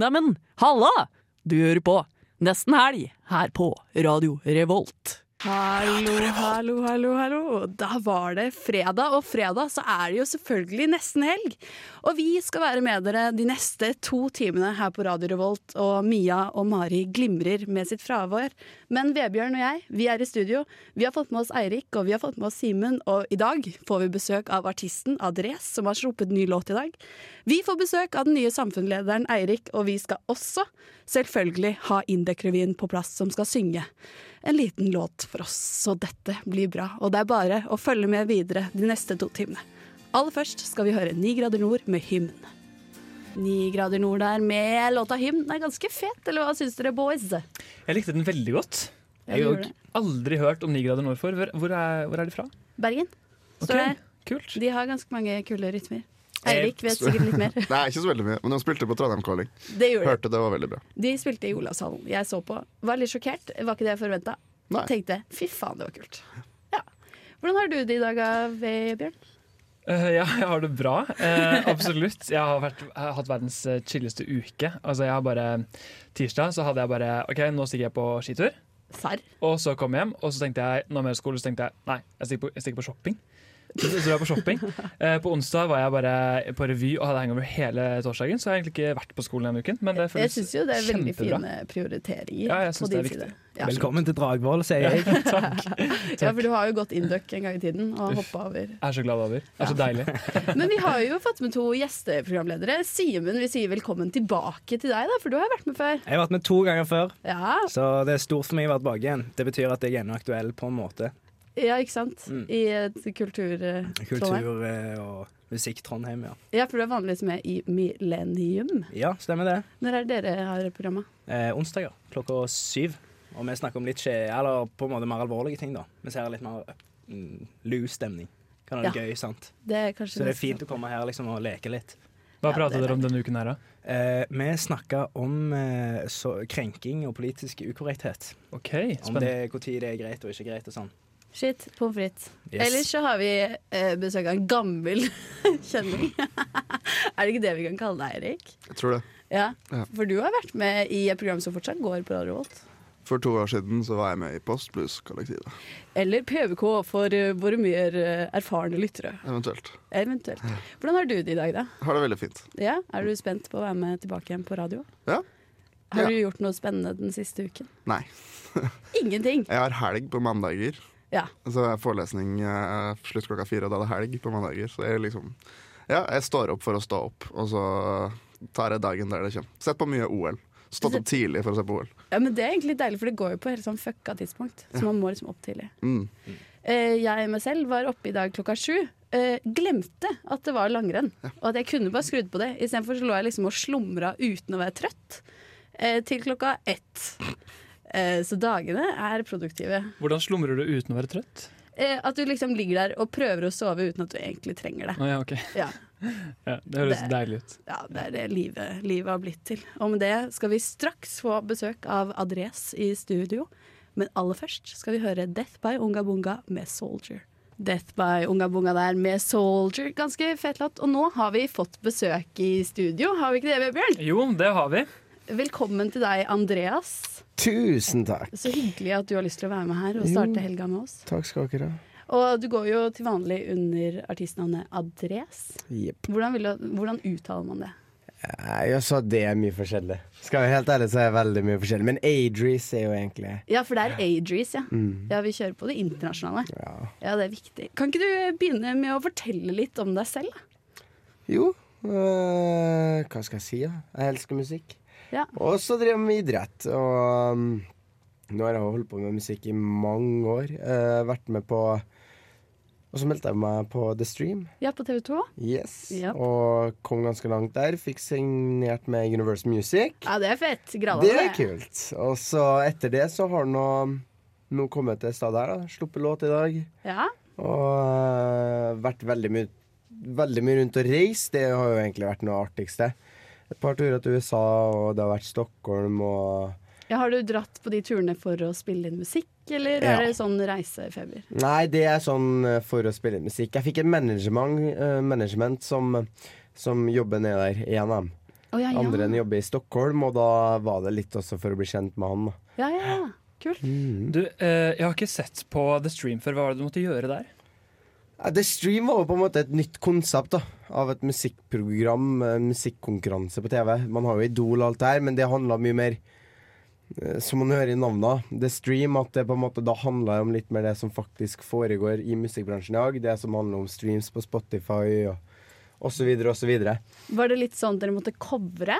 Neimen, halla! Du hører på Nesten Helg her på Radio Revolt. Hallo, hallo, hallo, hallo. Da var det fredag, og fredag så er det jo selvfølgelig nesten helg. Og vi skal være med dere de neste to timene her på Radio Revolt, og Mia og Mari glimrer med sitt fravær. Men Vebjørn og jeg, vi er i studio. Vi har fått med oss Eirik, og vi har fått med oss Simen, og i dag får vi besøk av artisten Adres, som har sluppet ny låt i dag. Vi får besøk av den nye samfunnslederen Eirik, og vi skal også selvfølgelig ha Indek-revyen på plass, som skal synge en liten låt for oss. Så dette blir bra, og det er bare å følge med videre de neste to timene. Aller først skal vi høre 9 grader nord med hymn. 9 grader nord der med låta hymn. Den er ganske fet, eller hva syns dere, boys? Jeg likte den veldig godt. Ja, du Jeg har gjorde aldri hørt om 9 grader nord før. Hvor, hvor, er, hvor er de fra? Bergen. Står Ok, der. Kult. De har ganske mange kule rytmer. Eh, Eirik vet sikkert litt mer. Nei, ikke så veldig mye, men hun spilte på Trondheim Calling. Det gjorde de. Hørte det var veldig bra. De spilte i Olavshallen. Jeg så på. Var litt sjokkert. Var ikke det jeg forventa. Nei. Tenkte fy faen, det var kult. Ja. Hvordan har du det i dag, Vebjørn? Eh, ja, jeg har det bra. Eh, absolutt. Jeg har, vært, jeg har hatt verdens eh, chilleste uke. Altså, jeg har bare Tirsdag så hadde jeg bare OK, nå stikker jeg på skitur. Serr? Og så kom jeg hjem, og så tenkte jeg nå mer skole, så tenkte jeg nei, jeg stikker på, jeg stikker på shopping. Så så var jeg på shopping. Eh, på onsdag var jeg bare på revy og hadde hangover hele torsdagen, så jeg har egentlig ikke vært på skolen denne uken. Men det Jeg føles syns jo det er veldig kjempebra. fine prioriteringer Ja, jeg synes på det din er viktig. side. Ja. Velkommen til Dragvoll, sier jeg. ja, for du har jo gått induck en gang i tiden og hoppa over. Jeg er så glad over. Det er så deilig. Men vi har jo fått med to gjesteprogramledere. Simen, vi sier velkommen tilbake til deg, da, for du har jo vært med før. Jeg har vært med to ganger før, Ja, så det er stort for meg å være tilbake igjen. Det betyr at jeg er ennå aktuell på en måte. ja ikke sant? Mm. I et kultur... Trondheim. Kultur eh, og musikk Trondheim, ja. Ja, for du er vanligvis med i Millennium. Ja, stemmer det. Når er det dere har programmet? Eh, onsdager klokka syv. Og vi snakker om litt skje, eller på en måte mer alvorlige ting, da. Vi ser litt mer mm, loose stemning. Kan være Ja. gøy, sant. Det er kanskje Så det er neste- fint å komme her liksom og leke litt. Ja, Hva det pratet er dere om denne uken her, da? Eh, vi snakker om eh, så, krenking og politisk ukorrekthet. OK, Om det, spennende. hvor tid det er greit og ikke greit og sånn. Shit, pommes frites. Yes. Ellers så har vi eh, besøk av en gammel kjenning. er det ikke det vi kan kalle deg, Erik? Jeg tror det. Ja, Ja. For du har vært med i et program som fortsatt går på Radio Volt. For to år siden så var jeg med i Post Blues-kollektivet. Eller PVK for eh, våre mer eh, erfarne lyttere, Eventuelt. eventuelt. Hvordan har du det i dag, da? Har det veldig fint. Ja, Er du spent på å være med tilbake igjen på radio? Ja. Har Ja. du gjort noe spennende den siste uken? Nei. Ingenting! Jeg har helg på mandager. Ja. Så er forelesning eh, slutt klokka fire, og da er det helg på mandager. Så jeg liksom Ja, jeg står opp for å stå opp, og så tar jeg dagen der det kommer. Sett på mye OL. Stått opp tidlig for å se på OL. ja, men Det er egentlig litt deilig, for det går jo på helt sånn fucka tidspunkt. Så man må liksom opp tidlig. Mm. Eh, jeg meg selv var oppe i dag klokka sju. eh, glemte at det var langrenn, og at jeg kunne bare skrudd på det. Istedenfor så lå jeg liksom og slumra uten å være trøtt eh, til klokka ett. Eh, så dagene er produktive. Hvordan slumrer du uten å være trøtt? Eh, at du liksom ligger der og prøver å sove uten at du egentlig trenger det. Å ja, ok. Ja, Ja, det høres Det- deilig ut. ja Det er det livet, livet har blitt til. Og med det skal vi straks få besøk av Adres i studio. Men aller først skal vi høre Death by Unga Bunga med Soldier. Death by Unga Bunga der med Soldier. Ganske fet låt. Og nå har vi fått besøk i studio, har vi ikke det, Vebjørn? Jo, det har vi. Velkommen til deg, Andreas. Tusen takk. Så hyggelig at du har lyst til å være med her og starte helga med oss. Takk skal dere ha. Og du går jo til vanlig under artistnavnet Adres. Jepp. Hvordan, vil du, hvordan uttaler man det? Nei, Jeg sa det er mye forskjellig. Skal jeg være helt ærlig, så er jeg veldig mye forskjellig. Men Adris er jo egentlig Ja, for det er Adries, ja. Ja, Vi kjører på det internasjonale. Mm. ja. Ja, det er viktig. Kan ikke du begynne med å fortelle litt om deg selv? da? Jo, øh, hva skal jeg si, da? Jeg elsker musikk. Ja. Og så driver jeg med idrett. Og um, nå har jeg holdt på med musikk i mange år. Eh, vært med på Og så meldte jeg meg på The Stream. ja, på TV 2. Yes. Japp. Og kom ganske langt der. Fikk signert med Universal Music. Ja, det er fett. Gralla Det er kult. Og så etter det så har nå nå kommet til stedet her, da. Sluppet låt i dag. Ja. Og øh, vært veldig mye, veldig mye rundt og reist. Det har jo egentlig vært noe artigste. Et par turer til USA, og det har vært Stockholm og ja. Har du dratt på de turene for å spille inn musikk, eller Ja. er det sånn reisefeber? Nei, det er sånn eh, for å spille musikk. Jeg fikk et management, eh, management som, som jobber nede der i NM. Å, Ah, ja, ja. Andre enn jobber i Stockholm, og da var det litt også for å bli kjent med han. da. Ja, ja, ja. Kult. Du, eh, jeg har ikke sett på The Stream før. Hva var det du måtte gjøre der? Ja, The Stream var jo på en måte et nytt konsept da, av et musikkprogram, eh, musikkonkurranse på TV. Man har jo Idol og alt det her, men det handla mye mer eh, som man hører i navnet. The Stream, at det på en måte da handla om litt mer det som faktisk foregår i musikkbransjen i dag. Det som handler om streams på Spotify og og så videre og så videre. Var det litt sånn dere måtte covre?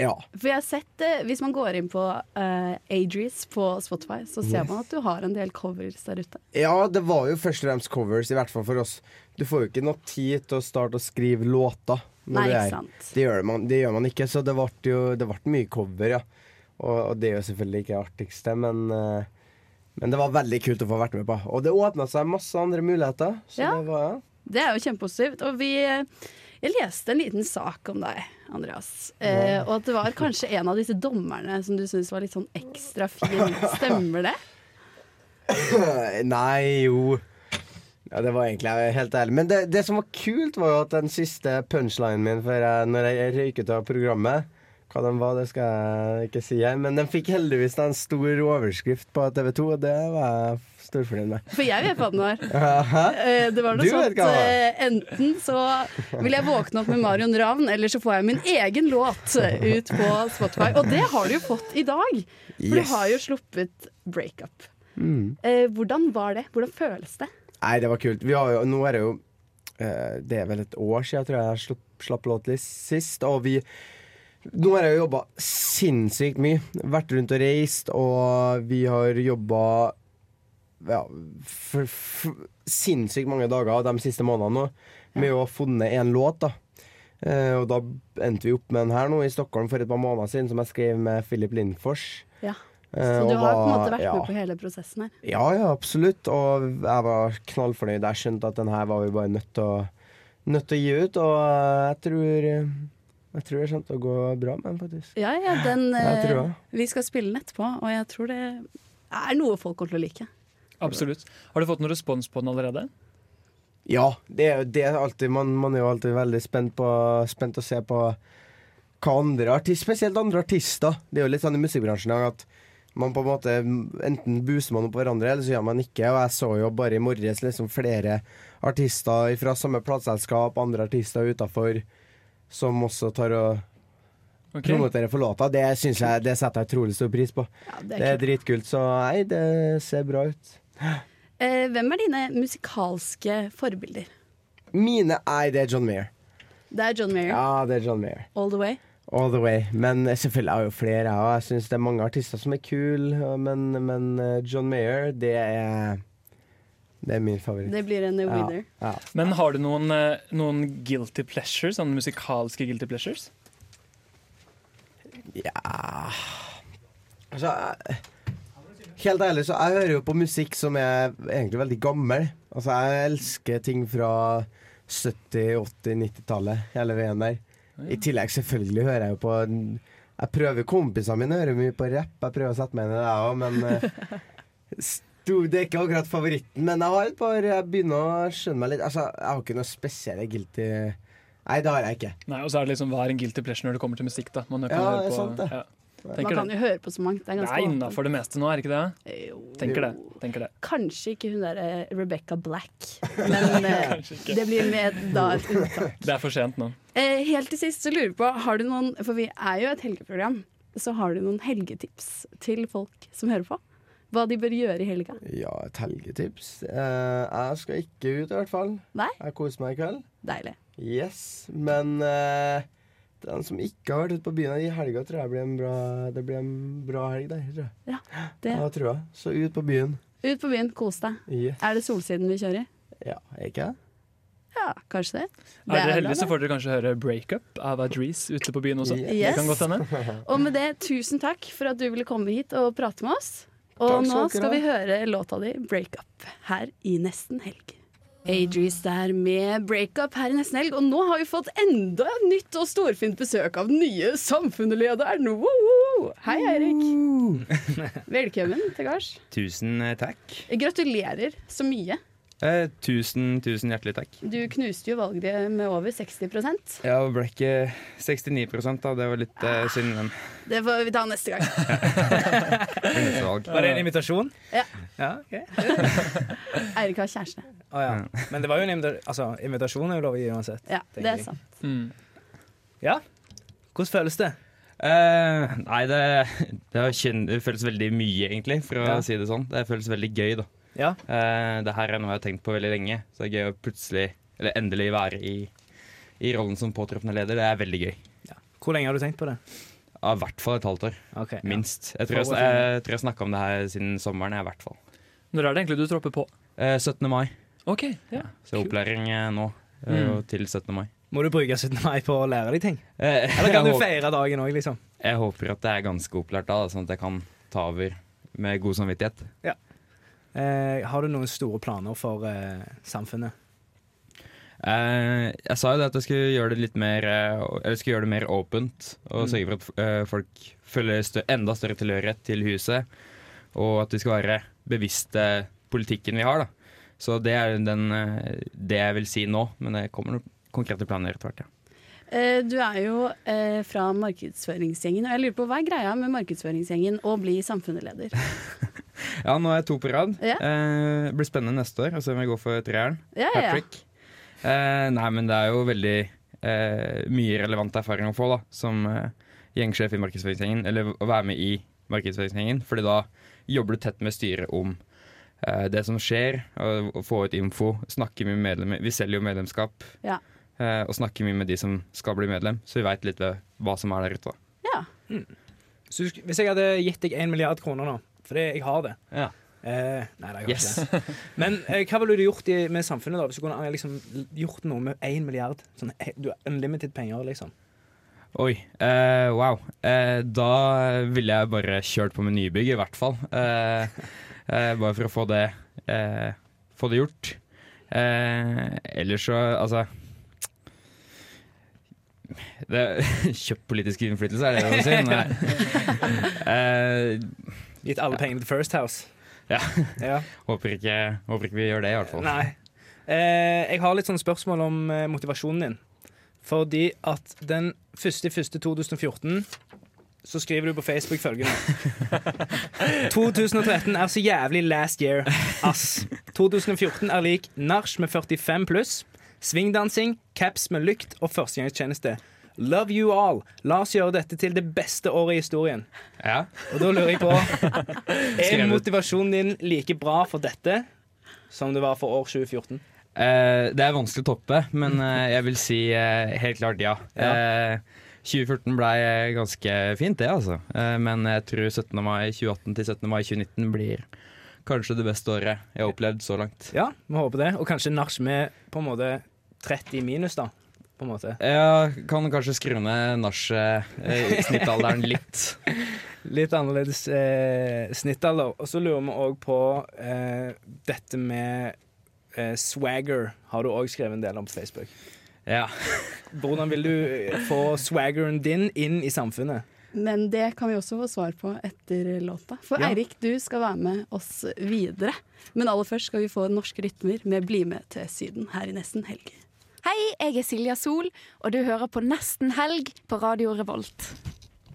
Ja. For jeg har sett, eh, Hvis man går inn på eh, Adries på Spotify, så ser man at du har en del covers der ute. ja, det var jo først og fremst covers, i hvert fall for oss. Du får jo ikke noe tid til å starte å skrive låter. når Nei, du ikke er- sant? Det gjør man, det gjør man ikke, så det ble jo det ble mye cover, ja. Og, og det er jo selvfølgelig ikke det artigste, men, eh, men det var veldig kult å få vært med på. Og det åpna seg masse andre muligheter. Så Ja. det var, ja. Det er jo kjempepositivt. Og vi Jeg leste en liten sak om deg, Andreas. Eh, og at det var kanskje en av disse dommerne som du syntes var litt sånn ekstra fin. Stemmer det? Eh, Nei, jo. Ja, det var egentlig helt ærlig. Men det, det som var kult, var jo at den siste punchlinen min før jeg, når jeg røyk ut av programmet hva den var, det skal jeg ikke si her, men den fikk heldigvis en stor overskrift på TV 2, og det var jeg storfornøyd med. For jeg vet hva den var. Aha. Eh, Det var noe Du vet sånt hva det var. eh, Enten så vil jeg våkne opp med Marion Ravn, eller så får jeg min egen låt ut på Spotify. Og det har du jo fått i dag, for Yes. Mm. du har jo sluppet breakup. Eh, Hvordan var det? Hvordan føles det? Nei, det var kult. Vi har jo, nå er det jo eh, Det er vel et år siden jeg tror jeg slapp, slapp låt litt sist, og vi Nå har jeg jo jobba sinnssykt mye. Vært rundt og reist, og vi har jobba ja, for, for, sinnssykt mange dager de siste månedene nå med å ha funnet en låt, da. Eh, og da endte vi opp med den her nå i Stockholm for et par måneder siden, som jeg skrev med Philip Lindfors. Ja. Eh, Så du og har på en var- måte vært ja. med på hele prosessen her. Ja, ja, absolutt. Og jeg var knallfornøyd. Jeg skjønte at den her var vi bare nødt til å, nødt til å gi ut, og eh, jeg tror Jeg tror det kommer til å gå bra med den, faktisk. Ja, ja, den Jeg tror eh, det. Vi skal spille den etterpå, og jeg tror det er noe folk kommer til å like. Absolutt. Har du fått noen respons på den allerede? Ja, det er jo det er alltid man, man er jo alltid veldig spent på Spent å se på hva andre artister Spesielt andre artister. Det er jo litt sånn i musikkbransjen i dag at man på en måte Enten booster man opp hverandre, eller så gjør man ikke. Og jeg så jo bare i morges liksom flere artister fra samme plateselskap, andre artister utafor, som også tar og Ok. promotere for låta. Det synes jeg det setter jeg utrolig stor pris på. Ja, Det det er, er kult. dritkult. Så nei, det ser bra ut. Eh, Hvem er dine musikalske forbilder? Mine Nei, det er John Mayer. Det er John Mayer, Ja, det er John Mayer. All The Way. All the way. Men selvfølgelig har jeg jo flere, jeg òg. Jeg syns det er mange artister som er kule, men, men eh, John Mayer, det er Det er min favoritt. Det blir en Ja, winner. ja. Men har du noen, eh, noen guilty pleasures? Sånne musikalske guilty pleasures? Altså, jeg, helt ærlig, så jeg hører jo på musikk som er egentlig veldig gammel. Altså, jeg elsker ting fra 70-, 80-, 90-tallet, hele veien der. I tillegg selvfølgelig hører jeg jo på Jeg prøver kompisene mine hører mye på rapp. Jeg prøver å sette meg inn i det, jeg òg, men eh, sto- det er ikke akkurat favoritten. Men jeg har et par Jeg begynner å skjønne meg litt. Altså, jeg har ikke noe spesielle guilty Nei, det har jeg ikke. Nei, og så er det liksom hva er en guilty pleasure når det kommer til musikk, da. Man kan Ja, høre det er på, sant det. Ja. Man Tenker kan det. jo høre på så mangt. Det er Det er ganske åpent. innafor det meste nå, er det ikke det? Jo. Tenker det. Tenker det. Kanskje ikke hun der eh, Rebecca Black, men eh, Kanskje ikke. det blir med da et unntak. Det er for sent nå. Eh, helt til sist så lurer jeg på, har du noen, for vi er jo et helgeprogram, så har du noen helgetips til folk som hører på? Hva de bør gjøre i helga? Ja, et helgetips. Eh, jeg skal ikke ut, i hvert fall. Nei? Jeg koser meg i kveld. Deilig. Yes, men eh, den som ikke har vært ute på byen i helga, tror jeg blir en bra, det blir en bra helg. Der, tror jeg. Ja, det. Ja, tror jeg. Så ut på byen. Ut på byen, kos deg. Yes. Er det solsiden vi kjører i? Ja, ikke Ja, kanskje det. Er dere bra, heldige, så det. får dere kanskje høre 'Breakup' av Adrees ute på byen også. Det Yes. kan godt hende. Og med det, tusen takk for at du ville komme hit og prate med oss. Og Takk skal nå dere skal ha. vi høre låta di 'Break Up' her i nesten helg. Adries der med 'Break Up' her i nesten helg. Og nå har vi fått enda et nytt og storfint besøk av den nye samfunnslederen. Woho! Hei, Eirik. Velkommen til gards. Tusen eh, takk. Gratulerer så mye. Eh, tusen, tusen hjertelig takk. Du knuste jo valget med over 60 Ja, det ble ikke 69 da. Det var litt eh, synd, men Det får vi ta neste gang. eneste valg. Var det en invitasjon? Ja. ja ok. Eirik har kjæreste. Å, ja. Men det var jo en invita altså, invitasjon er jo lov å gi uansett. Ja, Tenker det er jeg. sant. Mm. Ja. Hvordan føles det? Eh, nei, det, det, har kjenn, det føles veldig mye, egentlig, for å Ja. si det sånn. Det føles veldig gøy, da. Ja. Eh, det her er noe jeg har tenkt på veldig lenge, så det er gøy å plutselig, eller endelig være i, i rollen som påtreffende leder. Det er veldig gøy. Hvor lenge har du tenkt på det? Ja, I hvert fall et halvt år. Ok, ja. Minst. Jeg tror jeg, sn- jeg, tror jeg snakka om det her siden sommeren. Jeg, i hvert fall. Når er det egentlig du tropper på? Eh, 17. mai. Ok, ja. Så opplæring eh, nå eh, Mm. og til 17. mai. Må du bruke 17. mai på å lære deg ting? Eh, Eller kan jeg, du håper, feire dagen òg, liksom? jeg håper at det er ganske opplært da, sånn at jeg kan ta over med god samvittighet. Eh, har du noen store planer for eh, samfunnet? Eh, jeg sa jo det at jeg skulle gjøre det litt mer eh, Eller skulle gjøre det mer åpent. Og sørge for at eh, folk føler stø enda større tilhørighet til huset. Og at vi skal være bevisste politikken vi har, da. Så det er den, eh, det jeg vil si nå. Men det kommer noen konkrete planer etter hvert, ja. Eh, Du er jo eh, fra markedsføringsgjengen, og jeg lurer på hva er greia med markedsføringsgjengen og bli samfunnsleder? Ja, nå er jeg to på rad. Ja. Eh, det blir spennende neste år å se om jeg går for treeren. Ja, ja, ja. Hat-trick. Eh, nei, men det er jo veldig eh, mye relevant erfaring å få da, som eh, gjengsjef i markedsføringsgjengen, eller å være med i markedsføringsgjengen, fordi da jobber du tett med styret om eh, det som skjer, og, og få ut info, snakke mye med medlemmer. Vi selger jo medlemskap, Ja. eh, og snakker mye med de som skal bli medlem, så vi veit litt ved hva som er der ute. da. ja. Så du sk- hvis jeg hadde gitt deg én milliard kroner nå, fordi jeg har det eh, Nei, det har jeg Yes. ikke. det. Men eh, hva ville du gjort i, med samfunnet da, hvis du kunne eh, liksom, gjort noe med én milliard? Sånn, eh, du har unlimited penger, liksom. Oi, eh, wow. Eh, da ville jeg bare kjørt på med nybygg, i hvert fall. Eh, eh, bare for å få det, eh, få det gjort. Eh, ellers så, altså det, Kjøpt politisk innflytelse, er det det du sier? Nei. Eh, Gitt alle pengene til First House. Ja. ja. håper, ikke, håper ikke vi gjør det, i hvert fall. Nei. Eh, jeg har litt sånn spørsmål om eh, motivasjonen din. Fordi at den 1.1.2014 så skriver du på Facebook følgende 2013 er så jævlig last year, ass. 2014 er lik nach med 45 pluss, svingdansing, caps med lykt og førstegangstjeneste. Love you all. La oss gjøre dette til det beste året i historien. Ja. Og da lurer jeg på Er Skrevet. motivasjonen din like bra for dette som det var for år 2014? Eh, det er vanskelig å toppe, men eh, jeg vil si eh, helt klart ja. Eh, 2014 blei eh, ganske fint, det, altså. Eh, men jeg tror 17. mai 2018 til 17. mai 2019 blir kanskje det beste året jeg har opplevd så langt. Ja, vi håper det. Og kanskje nach med på en måte 30 minus, da. På en måte. Jeg kan kanskje skru ned nach-snittalderen litt. Litt annerledes eh, snittalder. Og så lurer vi òg på eh, dette med eh, swagger. Har du òg skrevet en del om på Facebook. Ja. Hvordan vil du eh, få swaggeren din inn i samfunnet? Men det kan vi også få svar på etter låta. For Ja. Eirik, du skal være med oss videre. Men aller først skal vi få Norske rytmer med Bli med til Syden her i nesten helg. Hei, jeg er Silja Sol, og du hører på Nesten helg på Radio Revolt.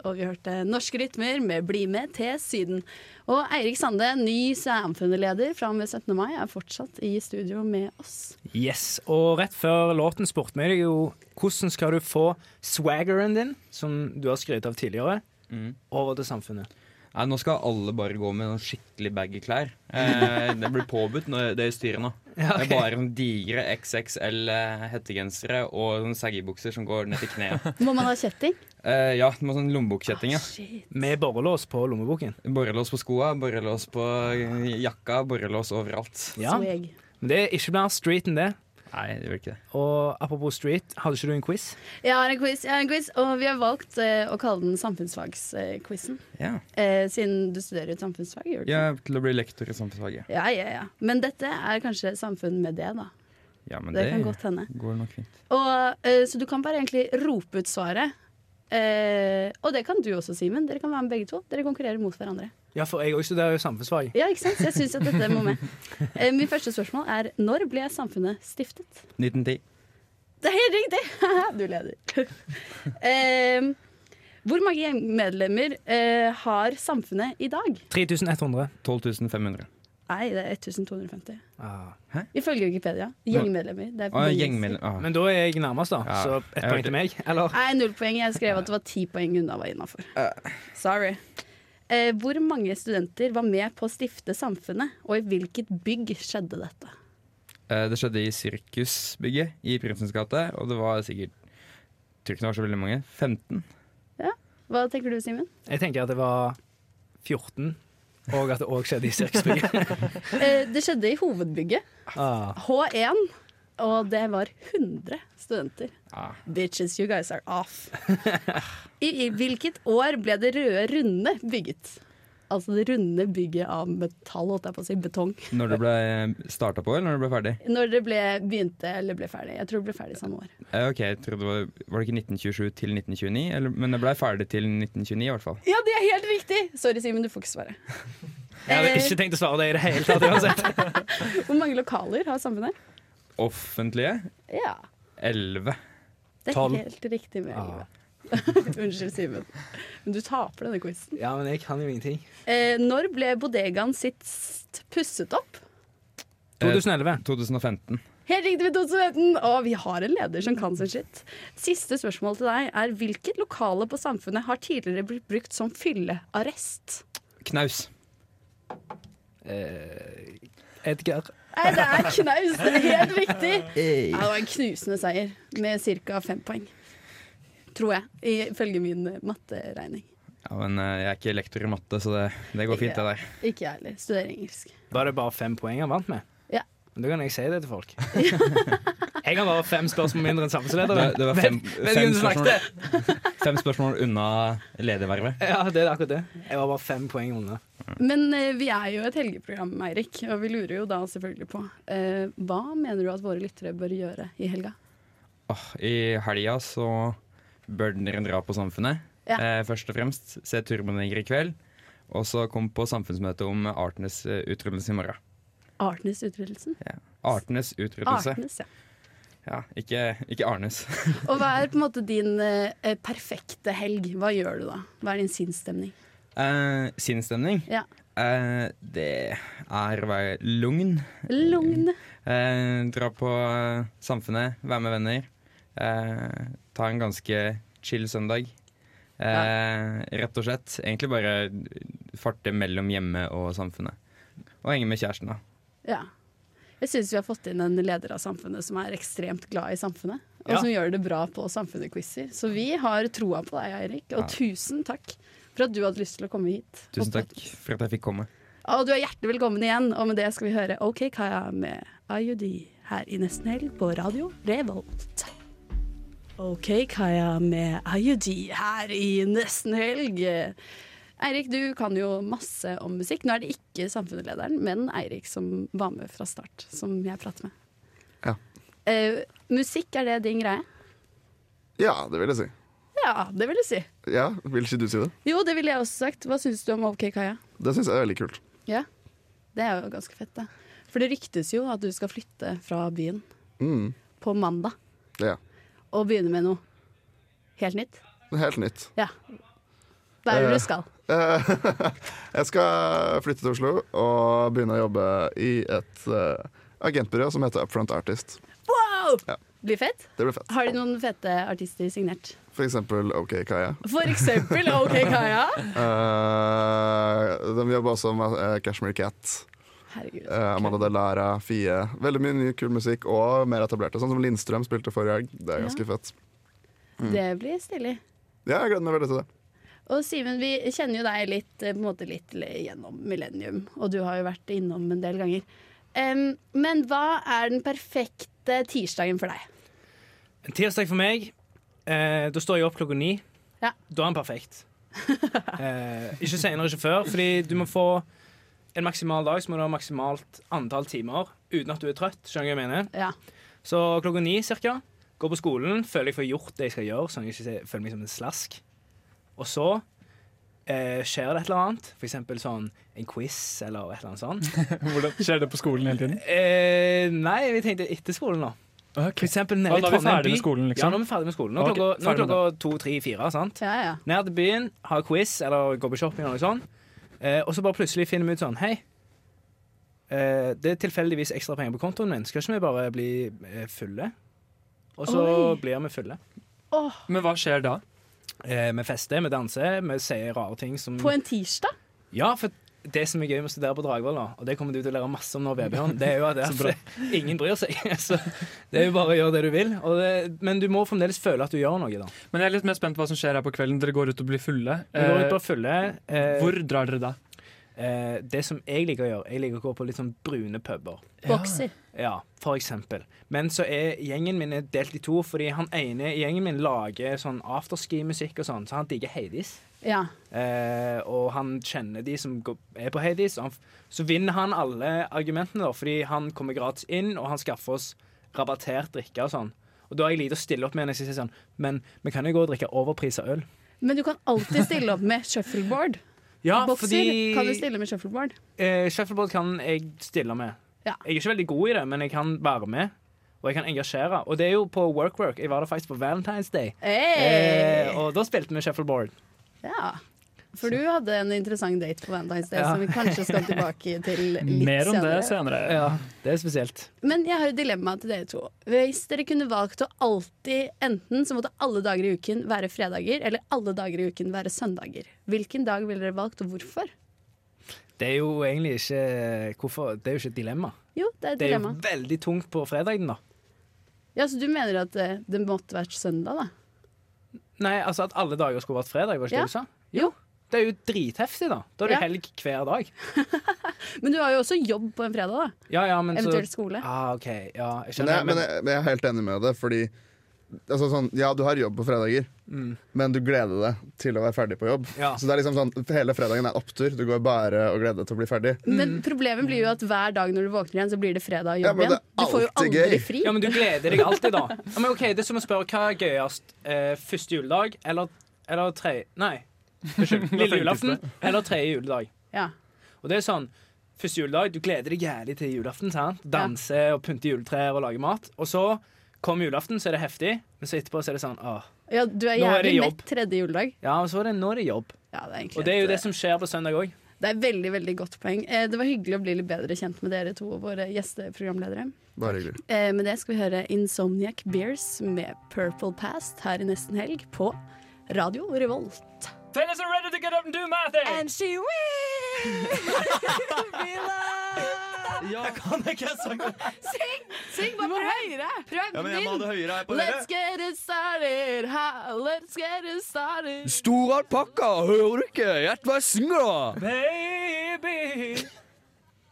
Og vi hørte Norske rytmer med Bli med til Syden. Og Eirik Sande, ny samfunnsleder fra og med 17. mai, er fortsatt i studio med oss. Yes, og rett før låten spurte vi deg jo hvordan skal du få swaggeren din, som du har skrytt av tidligere, over til samfunnet. Nei, nå skal alle bare gå med noen skikkelig baggy klær. Eh, det blir påbudt når det styret nå. Ja, Det er bare noen digre XXL-hettegensere eh, og sånne saggebukser som går ned til kneet. Må man ha kjetting? Eh, ja, du må ha sånn lommebokkjetting. Ja. Shit. Med borrelås på lommeboken. Borrelås på skoa, borrelås på eh, jakka, borrelås overalt. Ja, Swag. Men det er ikke mer street enn det. Nei, det gjør ikke det. Og apropos street, hadde ikke du en quiz? Jeg har en quiz, jeg har en quiz og vi har valgt eh, å kalle den samfunnsfagsquizen. Ja. Eh, siden du studerer et samfunnsfag, gjør du ikke? Til å bli lektor i samfunnsfaget. Ja, ja, ja. Men dette er kanskje samfunn med det, da. Ja, men Det, kan godt hende. går nok fint. Og, eh, så du kan bare egentlig rope ut svaret. Eh, og det kan du også, Simen. Dere kan være med begge to. Dere konkurrerer mot hverandre. Ja, for jeg òg studerer jo samfunnsfag. Ja, ikke sant? Så jeg syns at dette må med. Eh, Mitt første spørsmål er når ble samfunnet stiftet? 1910. Det er helt riktig! Du leder. Eh, hvor mange gjeng- medlemmer eh, har samfunnet i dag? 3100. 12.500. Nei, det er 1250. Ah. Ifølge Wikipedia. Gjengmedlemmer. Det er Å, veldig- gjengmedlem... Ah. Men da er jeg nærmest, da. Ja. Så ett Jeg poeng hørte- til meg. Eller Nei, null poeng. Jeg skrev at det var ti poeng unna var innafor. Sorry. Eh, hvor mange studenter var med på å stifte samfunnet, og i hvilket bygg skjedde dette? Eh, Det skjedde i sirkusbygget i Prinsens gate, og det var sikkert Jeg tror ikke det var så veldig mange. 15? Hva tenker du, Simen? jeg tenker at det var 14, og at det òg skjedde i sirkusbygget. Eh, det skjedde i hovedbygget. Ah. H1, og det var 100 studenter. Ja. Bitches, you guys are off. I, I hvilket år ble det røde runde bygget? Altså det runde bygget av metall, holdt jeg på å si, betong. Når det ble starta på, eller når det ble ferdig? Når det ble begynte eller ble ferdig. Jeg tror det ble ferdig samme år. Eh, ok, jeg trodde det var, var det ikke 1927 til 1929? Eller, men det ble ferdig til 1929 i hvert fall. Ja, det er helt riktig! Sorry, Simen, du får ikke svare. Jeg hadde ikke tenkt å svare det i det hele tatt uansett. Eh, Hvor mange lokaler har samfunnet? Offentlige Ja, 11. det er Tolv. helt riktig med elleve. Unnskyld, Simen. Men du taper denne quizen. Ja, men jeg kan jo ingenting. Eh, når ble bodegaen sist pusset opp? Eh. 2011. 2015. Helt riktig med 2015, og vi har en leder som kan sin skitt. Siste spørsmål til deg er hvilket lokale på Samfunnet har tidligere blitt brukt som fyllearrest? Knaus. Edgar. Nei, det er knaus, det er helt riktig! Ja, det var en knusende seier med ca. fem poeng. Tror jeg, ifølge min matteregning. Ja, men eh, jeg er ikke lektor i matte, så det, det går fint, det der. Ikke jeg heller. Studerer engelsk. Var det bare fem poeng han vant med? Ja. Men Da kan jeg si det til folk. Jeg har bare fem spørsmål mindre enn Det, samfunnslederen. det var fem, Vet ikke fem, hvem som spørsmål, snakket. fem spørsmål unna ledervervet. Ja, det er akkurat det. Jeg var bare fem poeng unna. Men eh, vi er jo et helgeprogram, Eirik, og vi lurer jo da selvfølgelig på eh, hva mener du at våre lyttere bør gjøre i helga? Åh, I helga så bør dere dra på Samfunnet. Ja. Eh, først og fremst se Turboneger i kveld. Og så kom på samfunnsmøte om artenes eh, utryddelse i morgen. Artenes utryddelse? Ja. Artenes utryddelse. Artenes, ja. Ja, ikke, ikke Arnes. Og hva er på en måte din eh, perfekte helg? Hva gjør du da? Hva er din sinnsstemning? Eh, sinnsstemning? Ja. Eh, det er å være lugn. Lugn. Eh, dra på eh, Samfunnet, være med venner. Eh, ta en ganske chill søndag. Eh, Rett og slett. Egentlig bare farte mellom hjemme og samfunnet. Og henge med kjæresten, da. Ja. Jeg syns vi har fått inn en leder av samfunnet som er ekstremt glad i samfunnet. Og Ja. som gjør det bra på samfunnet-quizer. Så vi har troa på deg, Eirik. Og Ja. tusen takk for at du hadde lyst til å komme hit. Tusen takk for at jeg fikk komme. Og du er hjertelig velkommen igjen. Og med det skal vi høre OK Kaja med IUD her i Nesten Helg på Radio Revolt. OK Kaja med IUD her i Nesten Helg. Eirik, du kan jo masse om musikk. Nå er det ikke samfunnslederen, men Eirik som var med fra start, som jeg prater med. Ja. Eh, musikk, er det din greie? Ja, det vil jeg si. Ja, det vil jeg si. Ja, Vil ikke du si det? Jo, det ville jeg også sagt. Hva syns du om OK Kaja? Det syns jeg er veldig kult. Ja, det er jo ganske fett, det. For det ryktes jo at du skal flytte fra byen Mm, på mandag ja. og begynne med noe helt nytt. Helt nytt. Ja. Hva er det Eh. du skal? Eh, jeg skal flytte til Oslo og begynne å jobbe i et eh, agentbyrå som heter Upfront Artist. Wow! Ja. Blir fett? Det blir fett. Har de noen fete artister signert? For eksempel OK Kaja. For eksempel OK Kaja. Eh, de jobber også med eh, Cashmere Cat. Herregud. Eh, Amanda Delara, Fie. Veldig mye ny kul musikk og mer etablerte. Sånn som Lindstrøm spilte forrige helg. Det er ganske fett. Det blir stilig. Ja, jeg gleder meg veldig til det. Og Simen, vi kjenner jo deg litt, eh, på en måte litt gjennom Millennium, og du har jo vært innom en del ganger. Em, men hva er den perfekte tirsdagen for deg? En tirsdag for meg, eh, da står jeg opp klokka ni. Ja. Da er han perfekt. Eh, ikke senere, ikke før. Fordi du må få en maksimal dag, så må du ha maksimalt antall timer uten at du er trøtt. Skjønner du hva jeg mener? Ja. Så klokka ni cirka Går på skolen, føler jeg får gjort det jeg skal gjøre Sånn at jeg ikke ser- føler meg som en slask Og så eh, skjer det et eller annet, f.eks. sånn en quiz eller et eller annet sånt Hvordan skjer det på skolen hele tiden? eh, Nei, vi tenkte etter skolen, da. For eksempel nede Ah, i da er vi Trondheim ferdig by. med skolen, liksom? Ja, nå er vi ferdig med skolen. Nå er Ok, klokka, nå er ferdig med klokka to, tre, fire. sant? Ja, ja. Ned til byen, har quiz eller går på shopping eller noe sånt. Eh, og så bare plutselig finner vi ut sånn Hei, eh, det er tilfeldigvis ekstra penger på kontoen min. Skal ikke vi bare bli eh, fulle? Og så Oi. blir vi fulle. Men hva skjer da? Eh, vi fester, vi danser, vi sier rare ting som På en tirsdag? Ja, for det som er gøy med å studere på Dragvoll, da, og det kommer du til å lære masse om nå, Vebjørn, det er jo at det er at ingen bryr seg. Så det er jo bare å gjøre det du vil. Og det, men du må fremdeles føle at du gjør noe, da. Men jeg er litt mer spent på hva som skjer her på kvelden. Dere går ut og blir fulle. Vi går Eh, ut på fulle. Eh, Hvor drar dere da? Eh, det som jeg liker å gjøre, jeg liker å gå på litt sånn brune puber. Bokser. Ja, for eksempel. Men så er gjengen min er delt i to, fordi han ene i gjengen min lager sånn afterski-musikk og sånn, så han digger Hades. Ja. Eh, og han kjenner de som går, er på Hades. Og han, f- så vinner han alle argumentene, da, fordi han kommer gratis inn, og han skaffer oss rabattert drikke og sånn. Og da er jeg lite å stille opp med når jeg sier sånn, men vi kan jo gå og drikke overprisa øl. Men du kan alltid stille opp med shuffleboard. Ja, Bokser fordi- kan du stille med shuffleboard. Eh, shuffleboard kan jeg stille med. Ja. Jeg er ikke veldig god i det, men jeg kan være med. Og jeg kan engasjere. Og det er jo på work-work. Jeg var der faktisk på Valentine's Day. Hey! Eh, og da spilte vi shuffleboard. Ja. For du hadde en interessant date på Valentine's Day Ja. som vi kanskje skal tilbake til litt Mer om det senere. senere. Ja, det er spesielt. Men jeg har et dilemma til dere to. Hvis dere kunne valgt å alltid enten så måtte alle dager i uken være fredager, eller alle dager i uken være søndager. Hvilken dag ville dere valgt, og hvorfor? Det er jo egentlig ikke eh, Hvorfor? Det er jo ikke et dilemma. Jo, det er et Det er dilemma. jo veldig tungt på fredagen, da. Ja, Så du mener at eh, det måtte vært søndag, da? Nei, altså at alle dager skulle vært fredag, var ikke Ja. det du sa? Jo. Det er jo dritheftig, da. Da er det Ja. helg hver dag. Men du har jo også jobb på en fredag, da. Ja, ja, men så Eventuelt skole. Ah, OK. Ja, jeg Men skjønner. jeg, men jeg, men jeg er helt enig med det, fordi altså sånn, Ja, du har jobb på fredager, men du gleder deg til å være ferdig på jobb. mm, Ja. Så det er liksom sånn, hele fredagen er en opptur. Du går bare og gleder deg til å bli ferdig. Men problemet blir jo at hver dag når du våkner igjen, så blir det fredag og Mm. Ja, jobb men det igjen. er Du får jo alltid aldri gøy. fri. Ja, men du gleder deg alltid, da. Ja, men ok, Det er som å spørre hva er gøyest. Eh, første juledag eller, eller tre Nei, unnskyld. Lille julaften eller tredje juledag. Ja. Og det er sånn Første juledag, du gleder deg jævlig til julaften. sant? Danse og pynte juletrær og lage mat. Og så kommer julaften, så er det heftig. Men så etterpå så er det sånn åh. ja, du er Nå er det jævlig jobb. mett tredje juledag. Ja, og så er det, nå er det jobb. Ja, det er egentlig Og det er et, jo det eh, som skjer på søndag òg. det er veldig, veldig godt poeng. Eh, Det var hyggelig å bli litt bedre kjent med dere to og våre gjesteprogramledere. Bare hyggelig. Eh, Med det skal vi høre Insomniac Bears med Purple Past her i nesten helg på Radio Revolt. Fellas are ready to get up and do my thing! Syng bare prøv! Høyere. Prøv Ja, men jeg må ha det høyere her på Let's dere. get it started, ha, let's get it started. Store alpakka, hører du ikke? Gjett hva jeg synger, da! Baby!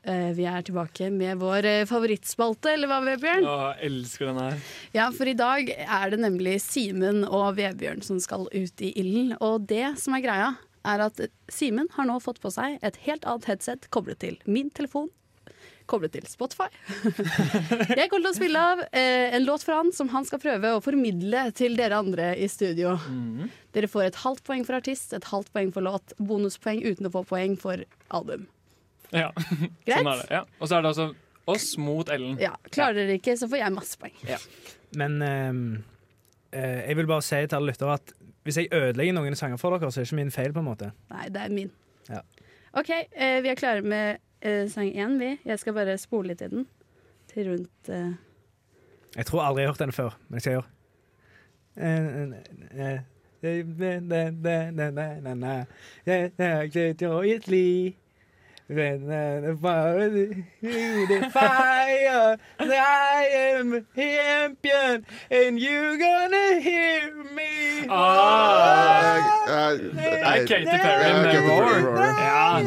Eh, Vi er tilbake med vår eh, favorittspalte, eller hva, Vebjørn? Å, jeg elsker den her. Ja, for i dag er det nemlig Simen og Vebjørn som skal ut i ilden. Og det som er greia, er at Simen har nå fått på seg et helt annet headset koblet til min telefon. Koblet til Spotify. Jeg kommer til å spille av eh, en låt fra han som han skal prøve å formidle til dere andre i studio. Mhm. Dere får et halvt poeng for artist, et halvt poeng for låt, bonuspoeng uten å få poeng for album. Ja, Greit? sånn er det. Ja. Og så er det altså oss mot Ellen. Ja, Klarer dere ikke, så får jeg masse poeng. Men ehm, eh, jeg vil bare si til alle lyttere at hvis jeg ødelegger noen sanger for dere, så er det ikke min feil, på en måte. Nei, det er min. Ja. OK, eh, vi er klare med eh, sang én, vi. Jeg skal bare spole litt i den. Til rundt eh, Jeg tror aldri jeg har hørt den før, men jeg skal gjøre Ah. Eh, Det er Katy Perry Ja, med Katy Perry, Roar. Roar. Ja.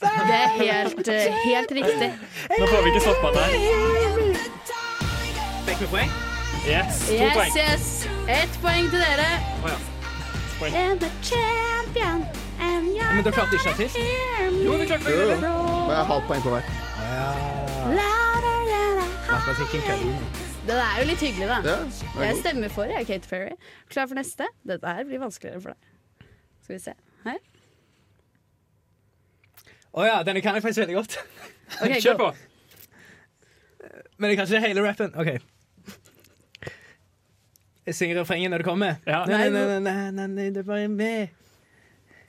Det er helt, eh, helt riktig. Nå får vi ikke stoppa der. Ah. Fikk vi poeng? Yes, to Yes, poeng. yes. Ett poeng til dere. Å, ja. Poeng. And the champion, and you're Men dere klarte ikke artist? here me Jo, vi klarte det. Jo, Men jeg har halvt poeng på hver. louder than I Matematikken kødder. Det er jo litt hyggelig, da. Ja, den er Jeg god. stemmer for, jeg, Kate Ferry. Klar for neste? Dette her blir vanskeligere for deg. Skal vi se. Her. Å ja, denne kan jeg faktisk veldig godt. Ok, gå. Kjør på! Men jeg kan ikke hele rappen. OK. Jeg synger refrenget når det kommer. Ja. Nei, nei, nei, nei, nei, nei, det er bare meg.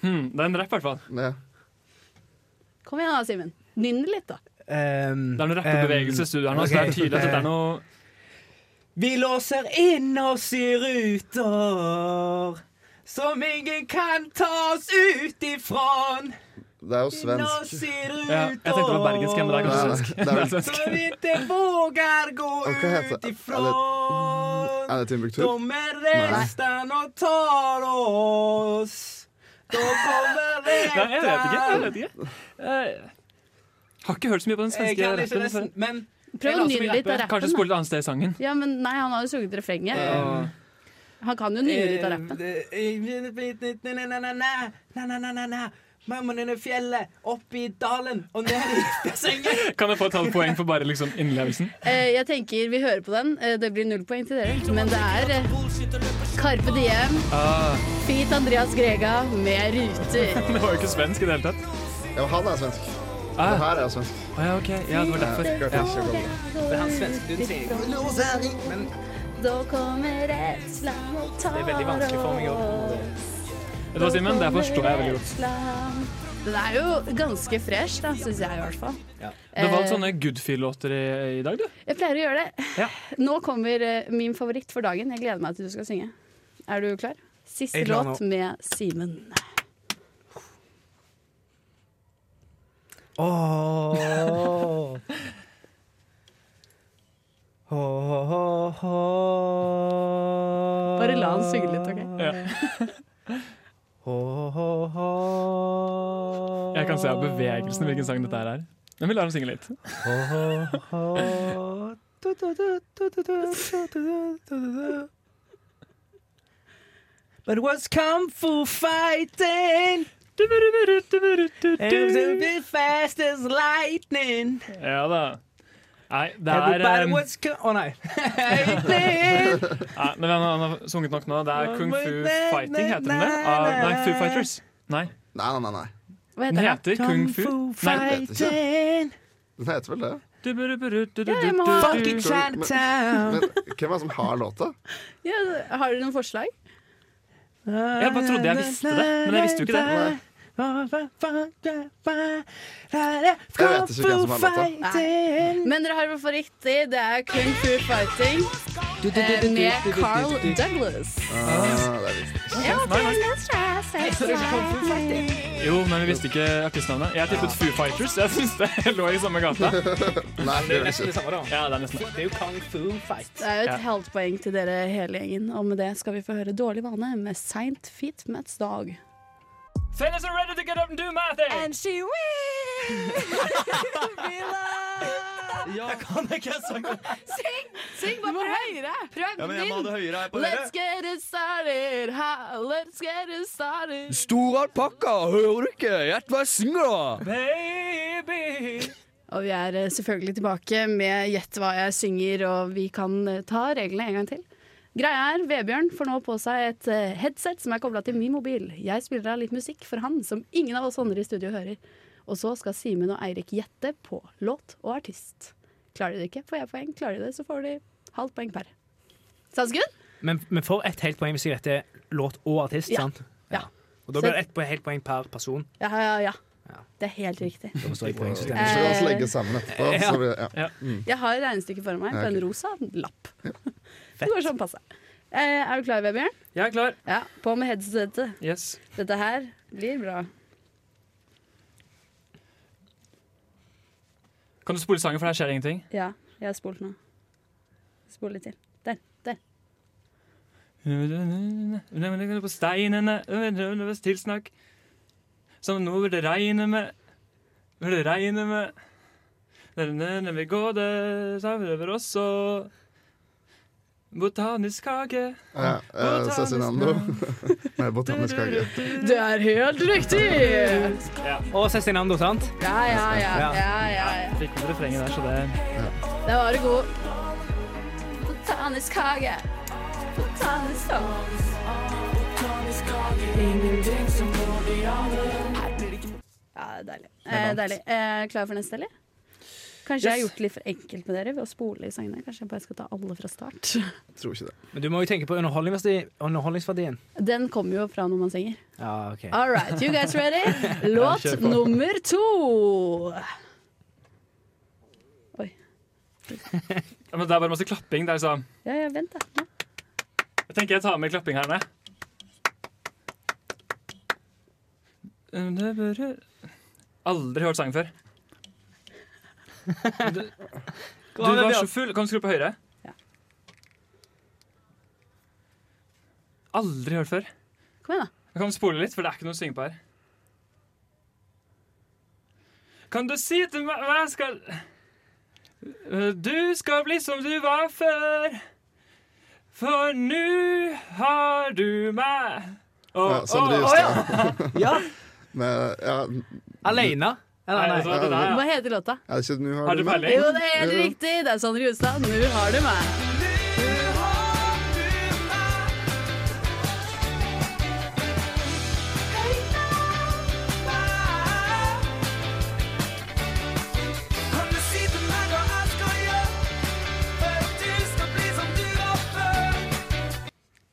Hmm, det er en rapp, i hvert fall. Ja. Kom igjen da, Simen. Nynn det litt, da. Um, Det er noen rappebevegelse i studio her nå, så det ok. er tydelig at dette er noe ehm, Vi låser inn oss i ruter som ingen kan ta oss ut ifrån. Det er jo Inn oss svensk. i ruter ja, Jeg tenkte det var bergensk, men det Nei, er kanskje nei, svensk. det er vel- Som vi ikke vågar gå Hva heter ut det? ifrån. Er det Timbuktu? De er resten og tar oss. Da kommer Nei, jeg vet ikke. Jeg resten. vet ikke. Eh, har ikke hørt så mye på den Jeg kan svenske ikke rappen. resten, så- men Prøv å Jeg nynne later litt som av jeg Kanskje rappen. spole et annet sted i sangen. da. Ja, men nei, han har jo sunget refrenget. Ja. Eh, Han kan jo nynne litt av rappen. rappen. Mammaen under fjellet, opp i dalen og ned i bassenget. Kan jeg få et halvt poeng for bare liksom innlevelsen? Eh, jeg tenker vi hører på den. Eh, det blir null poeng til dere. Men det er eh, Carpe Diem, Ah, Fit Andreas Grega med ruter. det var jo ikke svensk i det hele tatt. Ja, men han er svensk. Det Ah, her er svensk. ah, ja, ok. Ja, det var derfor. Jeg klarte ikke å komme det. Det er han svenske du sier. Men Da kommer et slam og tar det er veldig vanskelig for meg å Vet du hva, Simen? Det forstår jeg veldig godt. Den er jo ganske fresh, da, syns jeg i hvert fall. Ja. Du har Eh, valgt sånne good feel-låter i, i dag, du. Jeg pleier å gjøre det. Ja. Nå kommer eh, min favoritt for dagen. Jeg gleder meg til du skal synge. Er du klar? Siste Jeg er klar låt med Simen. Åh. Åh. Bare la han synge litt, OK? Jeg kan se av bevegelsen hvilken sang dette her er. Men vi lar dem synge litt. But it was kung fu fighting. And it was fast as lightning. Ja da. Nei, det er Everybody eh, was kung... Å nei. Lightning. nei, Men han han har sunget nok nå. Det er Kung Fu Fighting, heter den det? Av, nei, Foo Fighters. Nei, Nei, nei, nei. nei. Hva den heter den? heter Kung Fu. Nei. det heter Den heter vel det. Ja, jeg må ha- Fucking Men Chinatown. hvem er det som har låta? Ja, har dere noen forslag? Jeg bare trodde jeg visste det, men jeg visste jo ikke det. Nei. Jeg Jeg vet ikke hvem som har låta. Men dere har i hvert fall riktig. Det er Kung Fu Fighting eh, med Carl Douglas. Ah, det er visst. Nei, nei. Jo, men vi visste ikke artistnavnet. Jeg tippet Foo Fighters. Jeg syns det lå i samme gata. Nei, det gjør det ikke. Nesten det samme, da. Ja, det er nesten det. Det er jo kung fu fight. Det er jo et Ja. halvt poeng til dere hele gjengen. Og med det skal vi få høre Dårlig vane med Saint Fit Mats Dag. Fellas are ready to get up and do my thing. Syng bare høyere! Prøv Ja, men jeg må ha det høyere her på dere. Let's get it started, ha, let's get it started. Stor alpakka, hører du ikke? Jeg var singla. Baby. Og vi er eh, selvfølgelig tilbake med Gjett hva jeg synger, og vi kan eh, ta reglene en gang til. Greia er, Vebjørn får nå på seg et eh, headset som er kobla til min mobil. Jeg spiller av litt musikk for han, som ingen av oss andre i studio hører. Og så skal Simen og Eirik gjette på låt og artist. Klarer de det ikke, får jeg poeng. Klarer de det, så får de halvt poeng per. Sounds good? Men vi får ett helt poeng hvis jeg vet det er låt og artist, Ja. sant? Ja. Og da blir det ett po- helt poeng per person. Ja, ja, Ja. ja. Mm. Det er helt riktig. Da forstår jeg poengsystemet. Så kan vi også legge sammen etterpå. Så vi, ja. Jeg har regnestykket foran meg på en rosa lapp. Det Fett. går sånn passe. Eh, er du klar, Vebjørn? Jeg er klar. Ja, på med headsetet. Yes. Dette her blir bra. Kan du spole sangen, for her skjer ingenting? Ja, jeg har spolt nå. Spol litt til. Der. der. På steinene Undervøs tilsnakk Som nå vil det regne med Vil det regne med Når vi går det Sammen over oss og Botanisk hage Ja, eh, Cezinando med botanisk hage. Det er helt riktig! Og Cezinando, sant? Ja, ja, ja. Ja. ja, ja, ja. Fikk med refrenget der, så det Der var du god. Botanisk hage. Botanisk hage. Ja, deilig. Eh, deilig. Eh, klar for neste, eller? Kanskje jeg har gjort det litt for enkelt med dere ved å spole i sangene. Kanskje jeg bare skal ta alle fra start. Tror ikke det. Men du må jo tenke på underholdningsverdi- underholdningsverdien. Den kommer jo fra når man synger. Ja, ok. All right, you guys ready? Låt nummer to. Ja, men det er bare masse klapping. Der, så. Ja, ja, vent, da. Nå. Jeg tenker jeg tar med klapping her ned. Um, det bare- Aldri hørt sangen før. Du, du var så full. Kan du skru på høyre? Ja. Aldri hørt før. Kom igjen, da. Jeg kan spole litt, for det er ikke noe å synge på her. Kan du si til meg hva jeg skal Du skal bli som du var før. For nå har du meg. Å, Ja, Sondre å, å, ja. Justad. Ja, Men, ja, Alene? Nei, Eller, vet nei. altså- du hva, det der, ja. Hva heter låta? er det ikke Nå Har du meg? peiling? Jo, det er helt riktig! Det er Sondre Justad. Nå har du meg.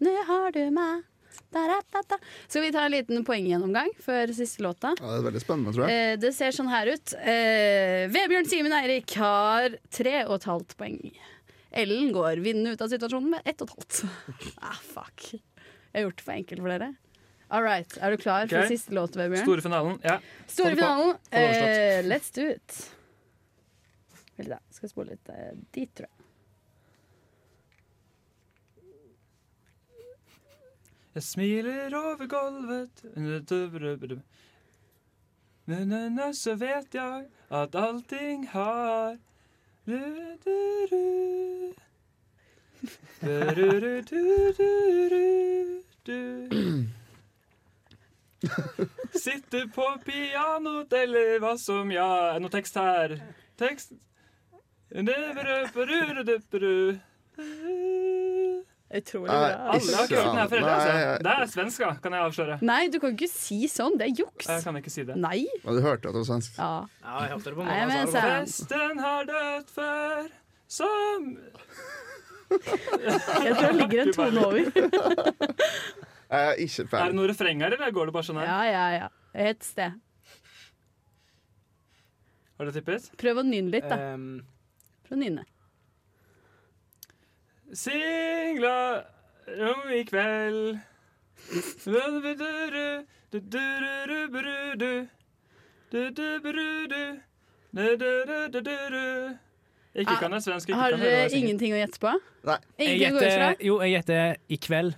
Nå har du meg. Da, da, da, da. Skal vi ta en liten poenggjennomgang før siste låta? Ja, det er veldig spennende, tror jeg. Eh, det ser sånn her ut. Eh, Vebjørn Simen Eirik har tre og et halvt poeng. Ellen går vinnende ut av situasjonen med ett og et halvt. Ah, fuck. Jeg har gjort det for enkelt for dere. All right, Er du klar Ok. for siste låt, Vebjørn? Store finalen. Ja. Store Få det på. finalen. Få det overstått. Eh, let's do it. Vel da, skal jeg spole litt eh, dit, tror jeg. Jeg smiler over gulvet Men ennå så vet jeg at allting har Du-du-du. Du-du-du-du-du-du. Sitter på pianot eller hva som ja Er det noe tekst her? Tekst Du-du-du-du-du-du. Utrolig Nei, bra. Alle har ikke hørt den her før heller, Nei, altså. jeg- Det er svensk, da, kan jeg avsløre. Nei, du kan ikke si sånn. Det er juks. Jeg Eh, kan ikke si det. Nei. Men du hørte at det var svensk? Ja. Ja, jeg hørte det på Nei, morgenen, men så var det sant. Festen har dødd før, som Jeg tror det ligger en tone over. Jeg er ikke Er det fan. noe refreng her, eller går det bare sånn her? Ja, ja, ja. Et sted. Har du tippet? Prøv å nynne litt, bra. da. Eh. Ehm, Prøv å nynne. Singla om i kveld. Du-du-du-du, du-du-du-du-du-du, du-du-du-du-du, du-du-du-du-du. Ikke kan jeg svensk, ikke Ah, Har kan jeg dere høre svensk. ingenting å gjette på? Nei. jeg Ingenting å gå ut fra? gjetter Jo, jeg gjetter 'i kveld'.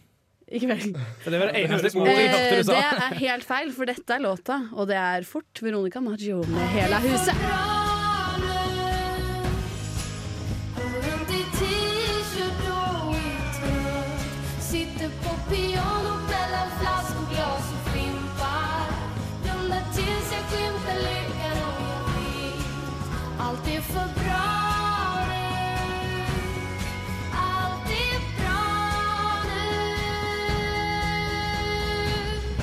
I kveld. For det var det eneste høres ordet jeg hørte Eh, du sa. det er helt feil, for dette er låta, og det er fort Veronica Maggio med hele huset. Sitter på piano, mellan flaskor, glas och fimpar Blundar tills jag skymtar lyckan och jag vet Allt är för bra nu Allt är bra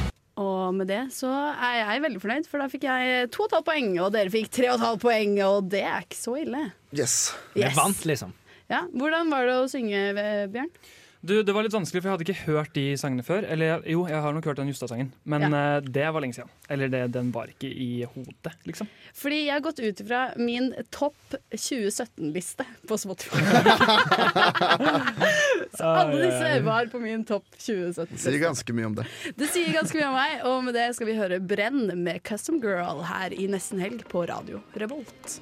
nu Og med det så er jeg veldig fornøyd, for da fikk jeg to og et halvt poeng, og dere fikk tre og et halvt poeng, og det er ikke så ille. Yes. Jeg vant, liksom. Ja, hvordan var det å synge, eh, Bjørn? Du, Det var litt vanskelig, for jeg hadde ikke hørt de sangene før. Eller jo, jeg har nok hørt den Justad-sangen, men eh, det var lenge siden. Eller det, den var ikke i hodet, liksom. Fordi jeg har gått ut ifra min topp 2017-liste på Spotify. så alle disse var på min topp 2017. Sier ganske mye om det. Det sier ganske mye om meg, og med det skal vi høre Brenn med Custom Girl her i Nesten Helg på Radio Revolt.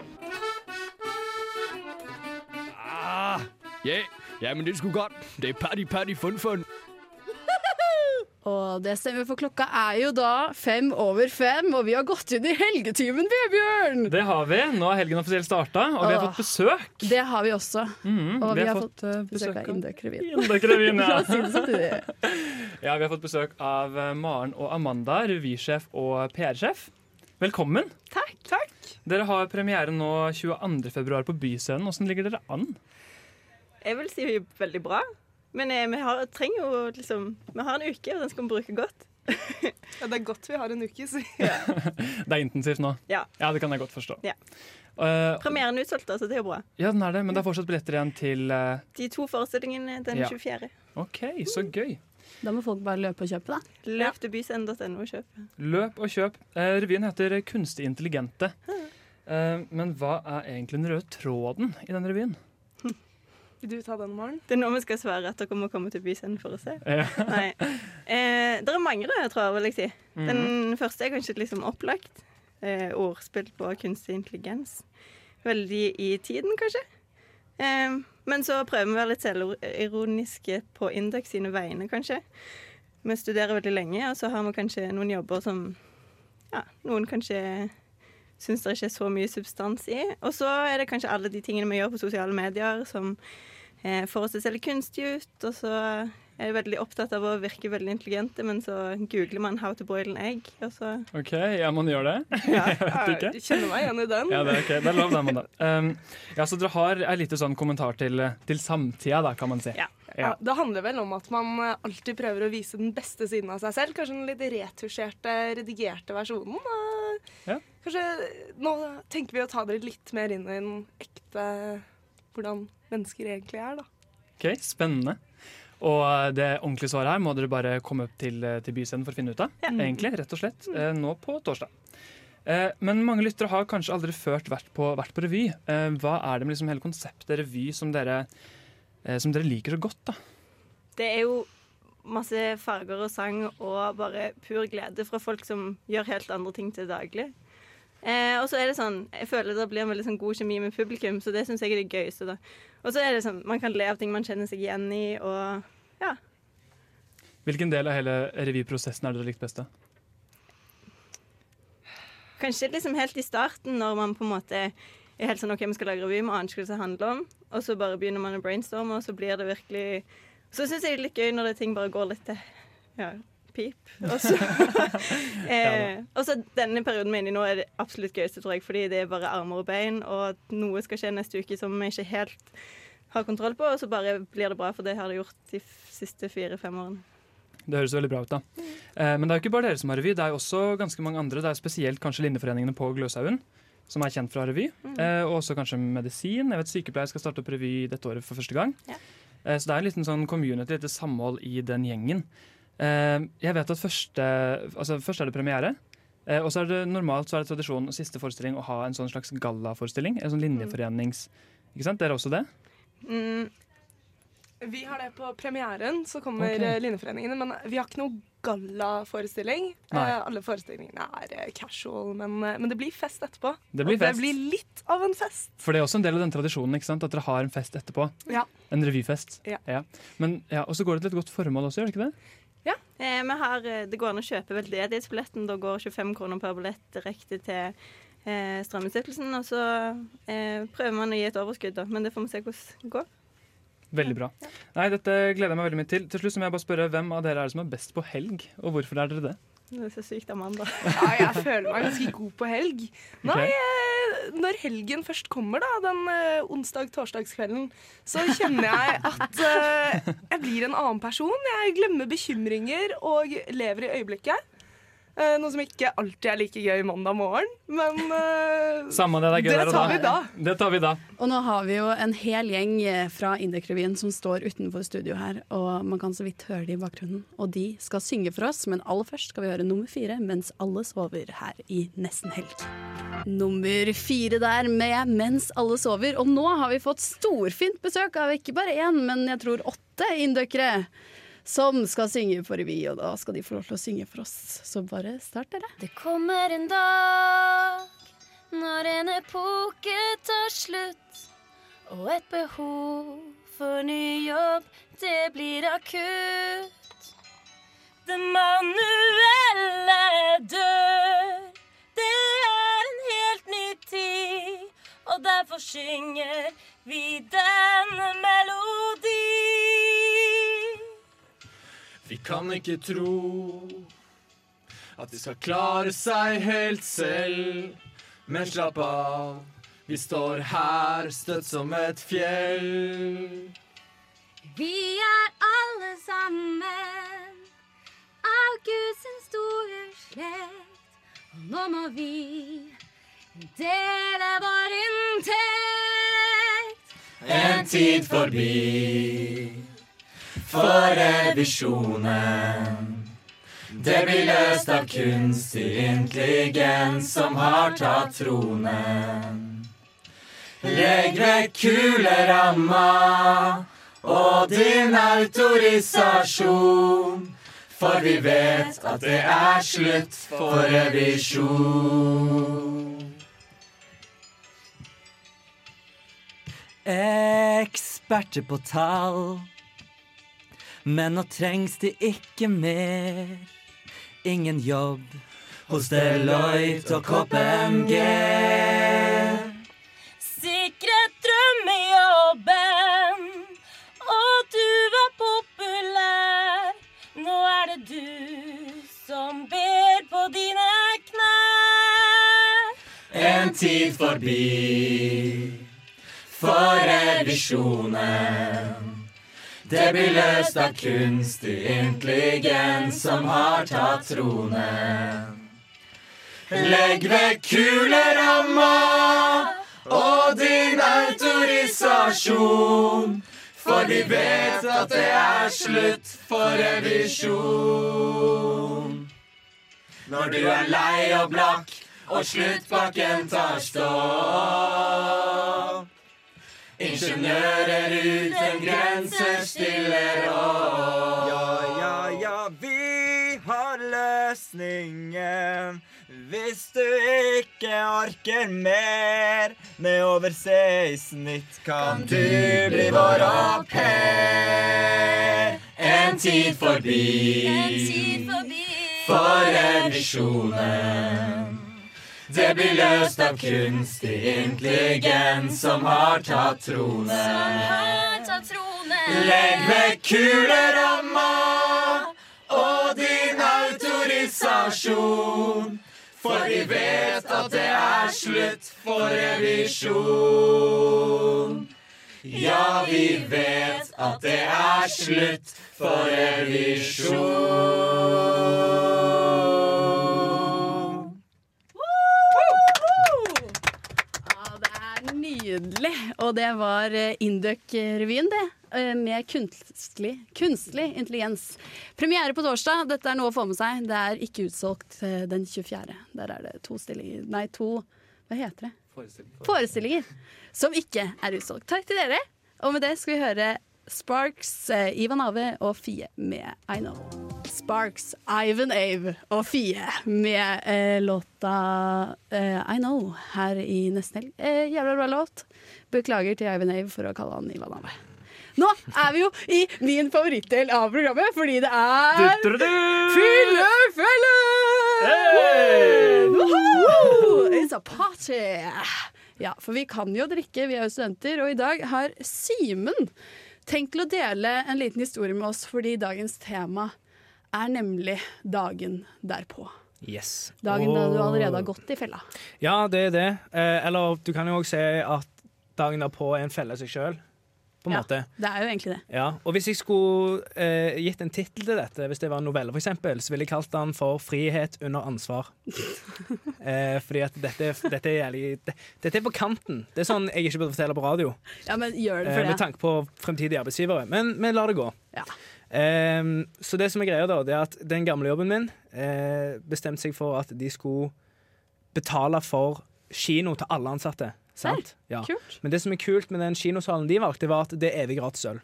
Ah, Ja, ja, men det skulle godt. Det er party, party, fun, fun. Og det stemmer, for klokka er jo da fem over fem, og vi har gått inn i helgetimen, Vebjørn! Det har vi. Nå er helgen offisielt starta, og vi har Åh. fått besøk. Det har vi også. Mhm, Og Mm, vi har fått eh, besøk av Indøk Revyen. Indøkrevyen, La ja. oss si det sånn. som det er. ja, vi har fått besøk av eh, Maren og Amanda, revysjef og PR-sjef. Velkommen. Takk. Dere har premiere nå 22. februar på Byscenen. Hvordan ligger dere an? Jeg vil si veldig bra. Men eh, vi har, trenger jo liksom Vi har en uke, og den skal vi bruke godt. Ja, det er godt vi har en uke, så Det er intensivt nå. Ja. det kan jeg godt forstå. Ja. Eh, Premieren er utsolgt, altså. Det er jo bra. ja, den er det, men det er fortsatt billetter igjen til eh, De to forestillingene den Ja. 24. OK, så gøy. Da må folk bare løpe og kjøpe, da. Løp til byscenen.no og kjøp. Løp og kjøp. Eh, revyen heter Kunstig intelligente. Eh, men hva er egentlig den røde tråden i den revyen? Vil du ta den, Maren? Det er nå vi skal svare at dere må komme til byscenen for å se. Ja. Nei. Eh, det er mange røde tråder, vil jeg si. Den første er kanskje liksom opplagt. Eh, ordspill på kunstig intelligens. Veldig i tiden, kanskje. Eh, men så prøver vi å være litt selvironiske på Induc sine vegne, kanskje. Vi studerer veldig lenge, og så har vi kanskje noen jobber som ja, noen kanskje syns det ikke er så mye substans i. Og så er det kanskje alle de tingene vi gjør på sosiale medier som eh, får oss til å se litt kunstig ut. Og så er jeg veldig opptatt av å virke veldig intelligente, men så googler man 'how to boil an egg', og så OK, ja, man gjør det? jeg vet ikke. kjenner meg igjen i den. Ja, det er, ok. det er lov, det. Amanda. Um, ja, så dere har en liten sånn kommentar til, til samtida, da, kan man si. Ja, det handler vel om at man eh, alltid prøver å vise den beste siden av seg selv. Kanskje den litt retusjerte, redigerte versjonen. og Kanskje Nå tenker vi å ta dere litt mer inn i den ekte hvordan mennesker egentlig er, da. Ok, Spennende. Og eh, det ordentlige svaret her må dere bare komme opp til, eh, til byscenen for å finne ut av. Egentlig, rett og slett, eh, nå på torsdag. Eh, Men mange lyttere har kanskje aldri ført vært på, vært på revy. Eh, Hva er det med liksom hele konseptet revy som dere, eh, som dere liker så godt? da? Det er jo masse farger og sang og bare pur glede fra folk som gjør helt andre ting til daglig. Eh, og så er det sånn, jeg føler det blir en veldig sånn god kjemi med publikum, så det syns jeg er det gøyeste. da. Og så er det sånn, man kan le av ting man kjenner seg igjen i, og ja. Hvilken del av hele revyprosessen er det dere likte best? da? Kanskje liksom helt i starten, når man på en måte er helt sånn OK, vi skal lage revy, vi aner ikke hva det handler om, og så bare begynner man å brainstorme, og så blir det virkelig Så syns jeg det er litt gøy når det ting bare går litt til ja, pip. Og så, eh, og så denne perioden min nå er det absolutt gøyeste, tror jeg, fordi det er bare armer og bein, og at noe skal skje neste uke som vi ikke helt har kontroll på, og så bare blir det bra, for det har det gjort de f- siste fire-fem årene. Det høres veldig bra ut, da. Eh, Men det er jo ikke bare dere som har revy, det er jo også ganske mange andre. Det er spesielt kanskje Lindeforeningene på Gløshaugen, som er kjent fra revy. Mm. Eh, Og også kanskje medisin. Jeg vet sykepleier skal starte opp revy dette året for første gang. Eh, Så det er en liten sånn community, et lite samhold i den gjengen. Eh, Jeg vet at første, altså først er det premiere. eh, Og så er det normalt så er det tradisjon og siste forestilling å ha en sånn slags gallaforestilling. En sånn Mm. linjeforenings... Ikke sant? Dere er også det? Mm. Vi har det på premieren, så kommer Ok. eh, Linjeforeningene. Men vi har ikke noe gallaforestilling. Nei. Eh, Alle forestillingene er eh, casual, men, eh, men det blir fest etterpå. Det blir Og fest. det blir litt av en fest. For det er også en del av den tradisjonen ikke sant? at dere har en fest etterpå. Ja. En revyfest. Ja. Men, ja, og så går det til et godt formål også, gjør det ikke det? Eh, vi har, eh, det går an å kjøpe veldedighetsbilletten. Da går 25 kroner per billett direkte til eh, Strømmestiftelsen. Og så eh, prøver man å gi et overskudd, da. Men det får vi se hvordan det går. Veldig bra. Nei, Dette gleder jeg meg veldig mye til. Til slutt så må jeg bare spørre, Hvem av dere er det som er best på helg, og hvorfor er dere det? Det er så sykt Amanda. Ja, jeg føler meg ganske god på helg. Nei, Ok. eh, når helgen først kommer, da, den eh, onsdag-torsdagskvelden, så kjenner jeg at eh, jeg blir en annen person. Jeg glemmer bekymringer og lever i øyeblikket. Eh, noe som ikke alltid er like gøy mandag morgen, men eh, Samme det, det er gøy Det der og tar vi da. da. Det tar vi da. Og nå har vi jo en hel gjeng eh, fra Indek-revyen som står utenfor studio her, og man kan så vidt høre de i bakgrunnen. Og de skal synge for oss, men aller først skal vi høre nummer fire mens alle sover her i Nesten Helg. Nummer fire der med Mens alle sover. Og nå har vi fått storfint besøk av ikke bare én, men jeg tror åtte indøkere. Som skal synge på revy, og da skal de få lov til å synge for oss. Så bare start, dere. Det kommer en dag når en epoke tar slutt, og et behov for ny jobb, det blir akutt. Det manuelle dør, det er en helt ny tid, og derfor synger vi denne melodi. Vi kan ikke tro at de skal klare seg helt selv. Men slapp av, vi står her støtt som et fjell. Vi er alle sammen, av Guds store slekt. Og nå må vi dele vår inntekt. En tid forbi for revisjonen. Det blir løst av kunstig intelligens som har tatt tronen. Legg vekk kuleramma og din autorisasjon. For vi vet at det er slutt for revisjon. Eksperter på tall. Men nå trengs de ikke mer. Ingen jobb hos Deloitte og KPMG. sikret drømmejobben, og du var populær. Nå er det du som ber på dine knær. En tid forbi for revisjonen. Det blir løst av kunstig intelligens som har tatt tronen. Legg vekk kuleramma og din autorisasjon. For vi vet at det er slutt for revisjon. Når du er lei og blakk og sluttpakken tar stopp. Ingeniører uten grenser stiller opp. Ja, ja, ja, vi har løsningen. Hvis du ikke orker mer, ned over C i snitt kan Du blir vår au pair. En tid forbi. For revisjonen. Det blir løst av kunstig intelligens som har tatt tronen. Legg vekk kuleramma og din autorisasjon. For vi vet at det er slutt for revisjon. Ja, vi vet at det er slutt for revisjon. er nydelig. Og det var eh, Indøk-revyen, det. eh, Med kunstlig, kunstlig intelligens. Premiere på torsdag. Dette er noe å få med seg. Det er ikke utsolgt eh, den 24. Der er det to stillinger Nei, to Hva heter det? Forestillinger. Som ikke er utsolgt. Takk til dere. Og med det skal vi høre Sparks, eh, Ivan Ave og Fie med I Know. Sparks, Ivan Ave og Fie med eh, låta eh, I Know her i nesten helg. Eh, jævla bra låt. Beklager til Ivan Ave for å kalle han Ivan Ave. Nå er vi jo i min favorittdel av programmet, fordi det er Fyllefelle! Woohoo! It's a party! Ja, for vi kan jo drikke, vi er jo studenter, og i dag har Simen tenkt til å dele en liten historie med oss, fordi dagens tema er nemlig dagen derpå. Yes. Dagen da du Og- allerede har gått i fella. Ja, det er det. Eh, eller du kan jo òg si at dagen derpå er en felle i seg sjøl, på en Ja, måte. Det er jo egentlig det. Ja, og hvis jeg skulle eh, gitt en tittel til dette, hvis det var en novelle for eksempel, så ville jeg kalt den for 'Frihet under ansvar'. eh, fordi at dette, dette er jævlig det, Dette er på kanten. Det er sånn jeg ikke burde fortelle på radio. Ja, men gjør det Eh, for med det. tanke på fremtidige arbeidsgivere. Men vi lar det gå. Ja. Ehm, så det som er greia, da, det er at den gamle jobben min eh, bestemte seg for at de skulle betale for kino til alle ansatte. Sant? Ja. Men det som er kult med den kinosalen de valgte, var at det er evig gratis øl.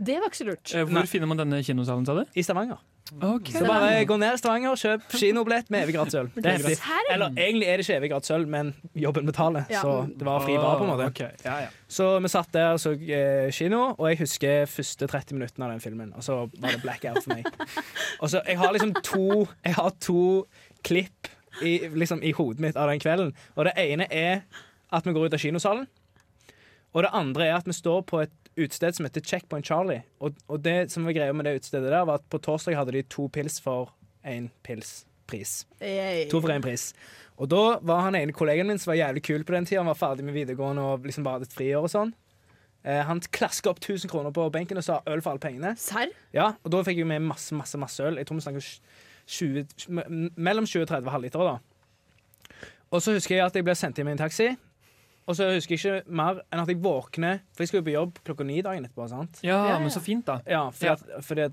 Det var ikke så Eh, lurt. Hvor finner man denne kinosalen, sa du? I Stavanger. Så bare Stavanger. gå ned i Stavanger, kjøp kinobillett med evig gratis øl. Det er heftig. Serr? Eller egentlig er det ikke evig gratis øl, men jobben betaler, Ja. så det var fri bar, på en måte. Ah, ok. Ja, ja. Så vi satt der og så eh, kino, og jeg husker første 30 minuttene av den filmen. Og så var det blackout for meg. Og så, jeg har liksom to, jeg har to klipp i, liksom, i hodet mitt av den kvelden. Og det ene er at vi går ut av kinosalen. Og det andre er at vi står på et utested som heter Checkpoint Charlie. Og, og det som var greia med det utestedet der, var at på torsdag hadde de to pils for én pils pris. Yay. To for én pris. Og da var han ene kollegaen min som var jævlig kul på den tida. Han var ferdig med videregående og liksom bare hadde et friår og sånn. Eh, han klaska opp 1000 kroner på benken og sa øl for alle pengene. Serr? Ja, og da fikk jeg med masse, masse, masse øl. Jeg tror vi snakker sj- 20, m- mellom 20 og 30 halvlitere, da. Og så husker jeg at jeg ble sendt hjem i en taxi. Og så husker jeg ikke mer enn at jeg våkner, for jeg skulle jo på jobb klokka ni dagen etterpå. sant? Ja, men så fint, da. Ja, fordi, Ja. At, fordi at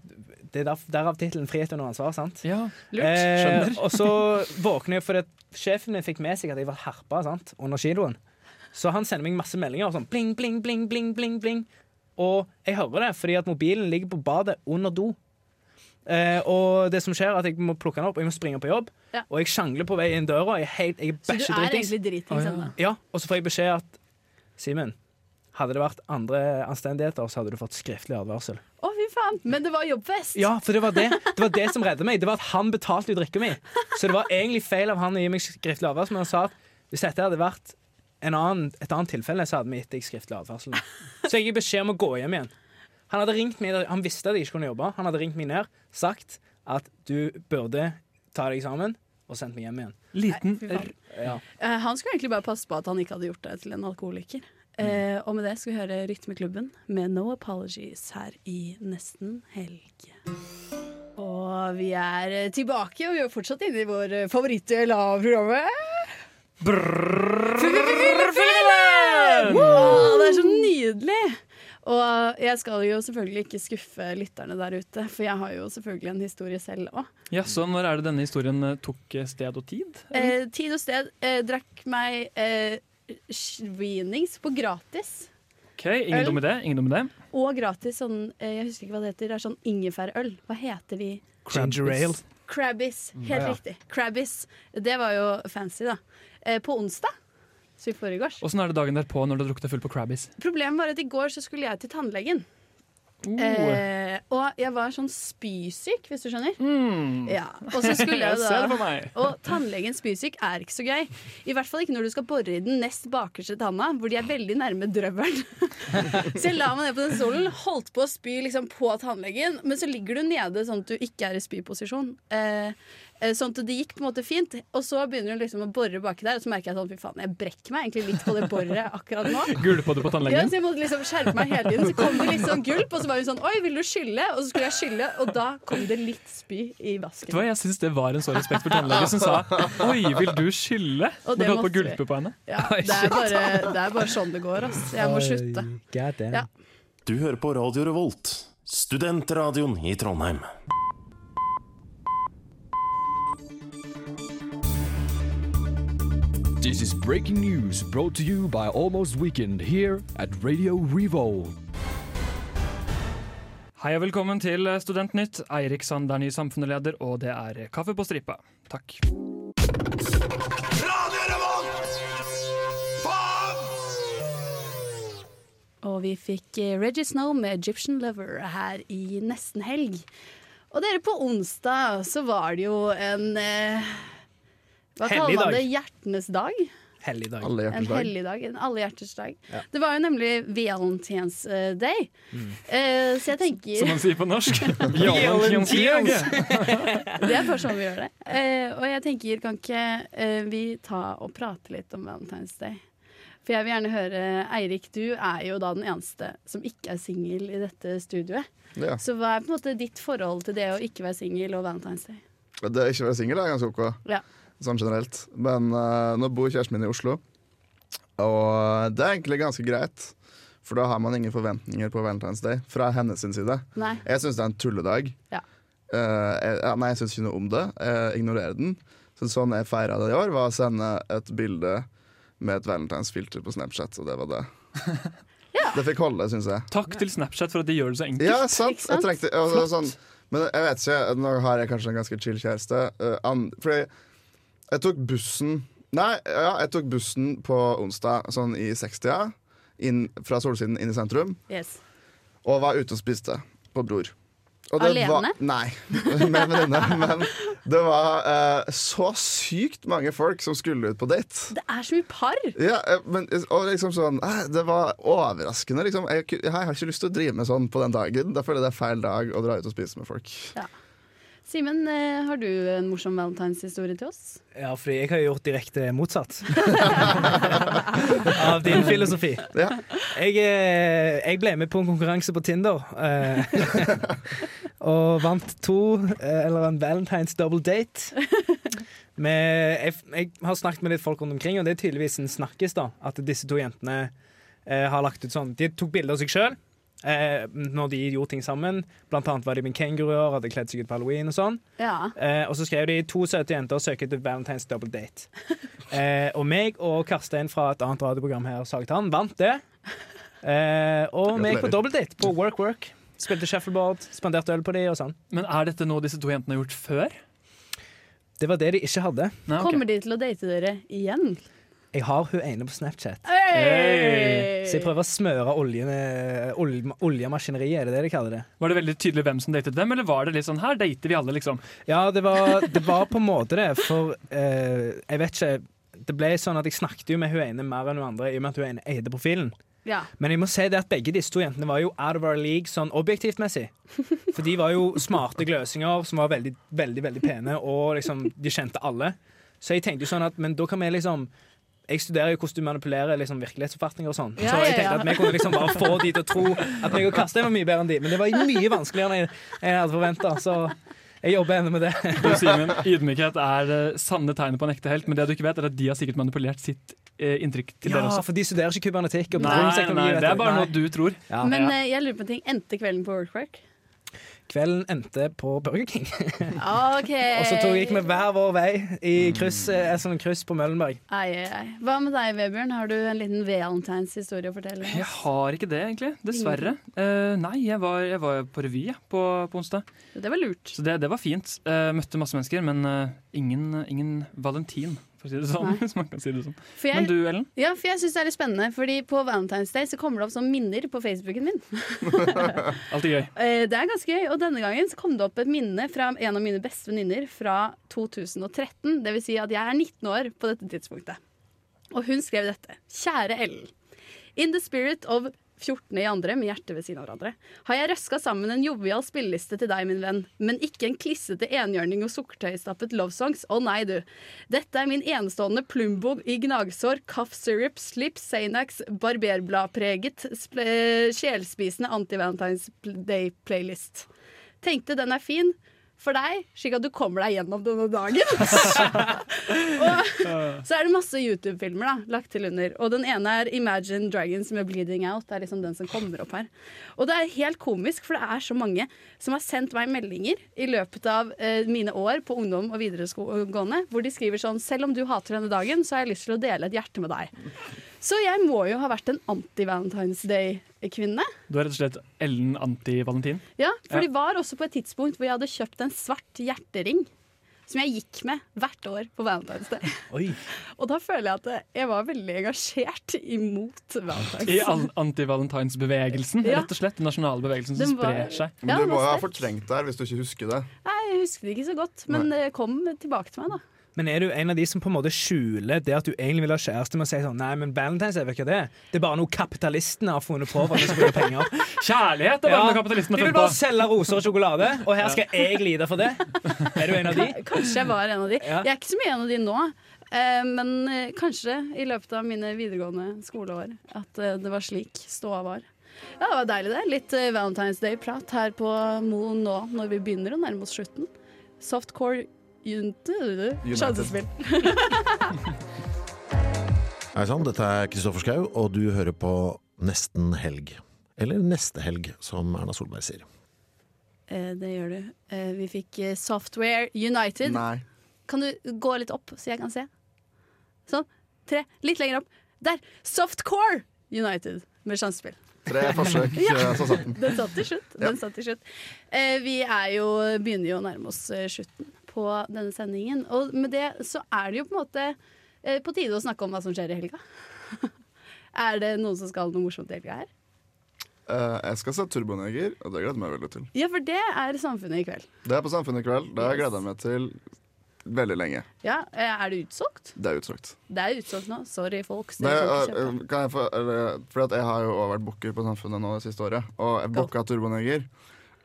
det er der, derav tittelen 'Frihet under ansvar'. sant? Ja, lurt. Eh, Skjønner. og så våkner jeg fordi at sjefen min fikk med seg at jeg var herpa sant? under kiloen. Så han sender meg masse meldinger og sånn bling, bling, bling, bling, bling, bling. Og jeg hører det fordi at mobilen ligger på badet under do. Eh, og det som skjer er at jeg må plukke den opp, og jeg må springe på jobb. Ja. Og jeg sjangler på vei inn døra. Jeg er helt, jeg er Så du bæsjedritings. er liksom- egentlig dritings ennå? Ja, og så får jeg beskjed at Simen, hadde det vært andre anstendigheter, så hadde du fått skriftlig advarsel. Å, fy faen! Men det var jobbfest! Ja, for det var det Det var det som reddet meg. Det var at han betalte jo drikka mi. Så det var egentlig feil av han å gi meg skriftlig advarsel, men han sa at hvis dette hadde vært en annen, et annet tilfelle, så hadde vi gitt deg skriftlig advarsel. Så jeg gikk beskjed om å gå hjem igjen. Han hadde ringt meg, han visste at jeg ikke kunne jobbe. Han hadde ringt meg ned, sagt at du burde ta deg sammen, og sendt meg hjem igjen. Liten Nei, fy faen. Ja. Eh, han skulle egentlig bare passe på at han ikke hadde gjort deg til en alkoholiker. Eh, og med det skal vi høre Rytmeklubben med No Apologies her i Nesten helg. Og vi er eh, tilbake, og vi er fortsatt inne i vår eh, favorittdel av programmet. Brrrrfillet! Det er så nydelig! Og jeg skal jo selvfølgelig ikke skuffe lytterne der ute, for jeg har jo selvfølgelig en historie selv òg. Ja, så når er det denne historien eh, tok eh, sted og tid? Eh, tid og sted. Eh, drakk meg eh, svinings på gratis. Ok, ingen Øl. dum idé. Ingen dum idé. Og gratis sånn eh, Jeg husker ikke hva det heter. Det er sånn ingefærøl. Hva heter de? Ginger ale. Crabbis. Helt Mm, Ja. riktig. Crabbis. Det var jo fancy, da. Eh, på onsdag. Så i forgårs. Åssen er det dagen derpå når du har drukket deg full på Crabbies? Problemet var at i går så skulle jeg til tannlegen. Uh. Eh, og jeg var sånn spysyk, hvis du skjønner. Ja. Og så skulle jeg Mm. Jeg da ser det for meg. Og tannlegens spysyk er ikke så gøy. I hvert fall ikke når du skal bore i den nest bakerste tanna, hvor de er veldig nærme drøvelen. så jeg la meg ned på den stolen, holdt på å spy liksom på tannlegen, men så ligger du nede sånn at du ikke er i spyposisjon. Eh, eh, Sånn at det gikk på en måte fint, og så begynner du liksom å bore baki der. Og så merker jeg sånn, fy faen, jeg brekker meg egentlig litt på det boret akkurat nå. Gulpa du på Ja, tannlegen? så jeg måtte liksom skjerpe meg hele tiden. Så kom det litt sånn gulp, og så var hun sånn Oi, vil du skylle? Og så skulle jeg skylle, og da kom det litt spy i vasken. Vet du hva, Jeg syns det var en så respekt for tannlegen som sa Oi, vil du skylle? Og Når det du holdt på å måtte vi. gulpe på henne. Ja, det, er bare, det er bare sånn det går, ass. Jeg må slutte. Ja. Du hører på Radio Revolt, studentradioen i Trondheim. This is breaking news brought to you by Almost Weekend here at Radio Revolt. Hei og velkommen til Studentnytt. Eirik Sand er ny samfunnsleder, og det er kaffe på stripa. Takk. Og vi fikk eh, Reggie Snow med 'Egyptian Lover' her i nesten helg. Og dere, på onsdag så var det jo en eh, Hva kaller man Helligdag. det? Hjertenes dag? Helligdag. En helligdag. En allehjerters dag. Ja. Det var jo nemlig Valentine's eh, Day. Eh, så jeg tenker Som man sier på norsk. Det er bare sånn vi gjør det. Eh, og jeg tenker, kan ikke eh, vi ta og prate litt om Valentine's Day? For jeg vil gjerne høre, Eirik, du er jo da den eneste som ikke er singel i dette studioet. Ja. Så hva er på en måte ditt forhold til det å ikke være singel og Valentine's Day? Det å ikke være singel er ganske ok. Ja. sånn generelt. Men eh, nå bor kjæresten min i Oslo, og eh, det er egentlig ganske greit. For da har man ingen forventninger på Valentine's Day fra hennes sin side. Nei. Jeg syns det er en tulledag. Ja. Eh, jeg, ja, nei, jeg syns ikke noe om det. Jeg ignorerer den. Så sånn jeg feira det i år, var å sende et bilde med et valentinsfilter på Snapchat, og det var det. Det fikk holde, syns jeg. Takk til Snapchat for at de gjør det så enkelt. Ja, sant. Jeg trengte, og, og, Flott. sånn, men jeg vet ikke, nå har jeg kanskje en ganske chill kjæreste. eh, an- fordi jeg, jeg tok bussen Nei, ja, jeg tok bussen på onsdag sånn i 60-a. inn- Fra Solsiden inn i sentrum. Yes. Og var ute og spiste på Bror. Og Alene? Var, nei, med en venninne. Men det var eh, så sykt mange folk som skulle ut på date. Det er så mye par! Ja, eh, men, og liksom sånn, eh, det var overraskende. Liksom. Jeg, jeg har ikke lyst til å drive med sånn på den dagen. Da føler jeg det er feil dag å dra ut og spise med folk. Ja. Simen, eh, har du en morsom valentinshistorie til oss? Ja, fordi jeg har gjort direkte motsatt av din filosofi. Jeg, eh, jeg ble med på en konkurranse på Tinder eh, og vant to, eh, eller en Valentine's double date. Med, jeg, jeg har snakket med litt folk rundt omkring, og det er tydeligvis en snakkis da, at disse to jentene eh, har lagt ut sånn De tok bilder av seg sjøl eh, når de gjorde ting sammen. Blant annet var de med kenguruer, hadde kledd seg ut på halloween og sånn. Ja. Eh, og så skrev de to søte jenter søker etter Valentine's double date. Eh, og meg og Karstein fra et annet radioprogram her, Sagtann, vant det. Eh, og vi gikk på double date på Work Work. Spilte shuffleboard, spanderte øl på de og sånn. Men er dette noe disse to jentene har gjort før? Det var det de ikke hadde. Kommer de til å date dere igjen? Jeg har hun ene på Snapchat. Hey! Så jeg prøver å smøre oljene ol- oljemaskineriet, er det det de kaller det? Var det veldig tydelig hvem som datet hvem, eller var det litt sånn her dater vi alle, liksom? Ja, det var, det var på en måte det, for eh, jeg vet ikke Det ble sånn at jeg snakket jo med hun ene mer enn hun andre, i og med at hun ene eide profilen. Ja. Men jeg må si det at begge disse to jentene var jo out of our league sånn objektivt messig. For de var jo smarte gløsinger som var veldig, veldig veldig pene, og liksom, de kjente alle. Så jeg tenkte jo sånn at Men da kan vi liksom jeg studerer jo hvordan du manipulerer liksom virkelighetsoppfatninger og sånn. Ja, så jeg ja, ja. tenkte at vi kunne liksom bare få de til å tro at meg og Karstein var mye bedre enn de. Men det var mye vanskeligere enn jeg, enn jeg hadde forventa, så jeg jobber ennå med det. Du, Simen, ydmykhet er eh, sanne tegnet på en ekte helt, men det du ikke vet, er at de har sikkert manipulert sitt eh, inntrykk til Ja, dere også. for de studerer ikke kubernetikk. Og Nei, petroleumsteknologi, nei, vet det er du. bare Nei. noe du tror. Men eh, jeg lurer på en ting. Endte kvelden på Workwork? Kvelden endte på Burger King. OK. og så tok- gikk vi hver vår vei i kryss, eh, sånn kryss på Møllenberg. Ai, ai, ai. Hva med deg, Vebjørn? Har du en liten valentinshistorie å fortelle? Jeg har ikke det, egentlig. Dessverre. Eh, nei, jeg var, jeg var på revy jeg, på, på onsdag. Det var lurt. Så det, det var fint. Eh, møtte masse mennesker, men eh, ingen, ingen valentin, for å si det sånn. Hvis man kan si det sånn. For jeg- Men du, Ellen? Ja, for jeg synes det er litt spennende, fordi på Valentine's Day så kommer det opp sånn minner på Facebooken min. Alltid gøy. Eh, Det er ganske gøy, og denne gangen så kom det opp et minne fra en av mine beste venninner fra 2013. Det vil si at jeg er 19 år på dette tidspunktet. Og hun skrev dette. Kjære Ellen. In the spirit of 14. i andre med hjertet ved siden av hverandre, har jeg røska sammen en jovial spilleliste til deg, min venn, men ikke en klissete enhjørning og sukkertøystappet lovesongs. Å nei, du. Dette er min enestående Plumbo i gnagsår, Kaff syrup, slips, Sanax, barberbladpreget, sp- eh, sjelspisende anti-Valentine's Day-playlist. Tenkte den er fin for deg, slik at du kommer deg gjennom denne dagen. Så er det masse YouTube-filmer da, lagt til under. Og den ene er Imagine Dragons med 'Bleeding Out'. Det er liksom den som kommer opp her. Og det er helt komisk, for det er så mange som har sendt meg meldinger i løpet av eh, mine år på ungdom og videregående, hvor de skriver sånn 'Selv om du hater denne dagen, så har jeg lyst til å dele et hjerte med deg'. Så jeg må jo ha vært en anti-Valentine's Day-kvinne. Du er rett og slett Ellen anti-Valentin? Ja, for de Ja. var også på et tidspunkt hvor jeg hadde kjøpt en svart hjertering. Som jeg gikk med hvert år på Valentine's Day. Og da føler jeg at jeg var veldig engasjert imot I Valentine's. all- anti-valentinsbevegelsen, Ja. rett og slett. Den nasjonale bevegelsen som Den var- sprer seg. Men Ja, du den var må jo ha sterk. fortrengt det her hvis du ikke husker det. Nei, jeg husker det ikke så godt, men det kom tilbake til meg, da. Men er du en av de som på en måte skjuler det at du egentlig vil ha kjæreste med å si sånn Nei, men Valentine's jeg vet ikke hva det er. Det er bare noe kapitalistene har funnet på for at de skal bruke penger. Kjærlighet er bare noe kapitalistene De har vil funnet bare på. selge roser og sjokolade, og her skal Ja. jeg lide for det. Er du en av de? Ka- Kanskje jeg var en av de. Ja. Jeg er ikke så mye en av de nå. eh, Men eh, kanskje i løpet av mine videregående skoleår at eh, det var slik ståa var. Ja, Det var deilig, det. Litt eh, Valentine's Day-prat her på Mo nå når vi begynner å nærme oss slutten. Softcore United. United. Sjansespill. Hei sann, dette er Kristoffer Schau, og du hører på Nesten helg. Eller Neste helg, som Erna Solberg sier. Eh, Det gjør du. Eh, Vi fikk eh, Software United. Nei. Kan du gå litt opp, så jeg kan se? Sånn. Tre. Litt lenger opp. Der! Softcore United med sjansespill. Tre forsøk, eh, så satt den. Den satt til slutt. Den satt til slutt. Eh, Vi er jo, begynner jo å nærme oss eh, slutten på denne sendingen. Og med det så er det jo på en måte eh, på tide å snakke om hva som skjer i helga. Er det noen som skal noe morsomt i helga her? Eh, jeg skal se Turboneger, og det gleder jeg meg veldig til. Ja, for det er Samfunnet i kveld. Det er på Samfunnet i kveld. Det har jeg gleda meg til veldig lenge. Ja, eh, Er det utsolgt? Det er utsolgt. Det er utsolgt nå. Sorry, folks. Det, Dere får ikke eh, kjøpe. kan jeg få, eller, fordi at jeg har jo også vært booker på Samfunnet nå det siste året, og jeg booka Turboneger.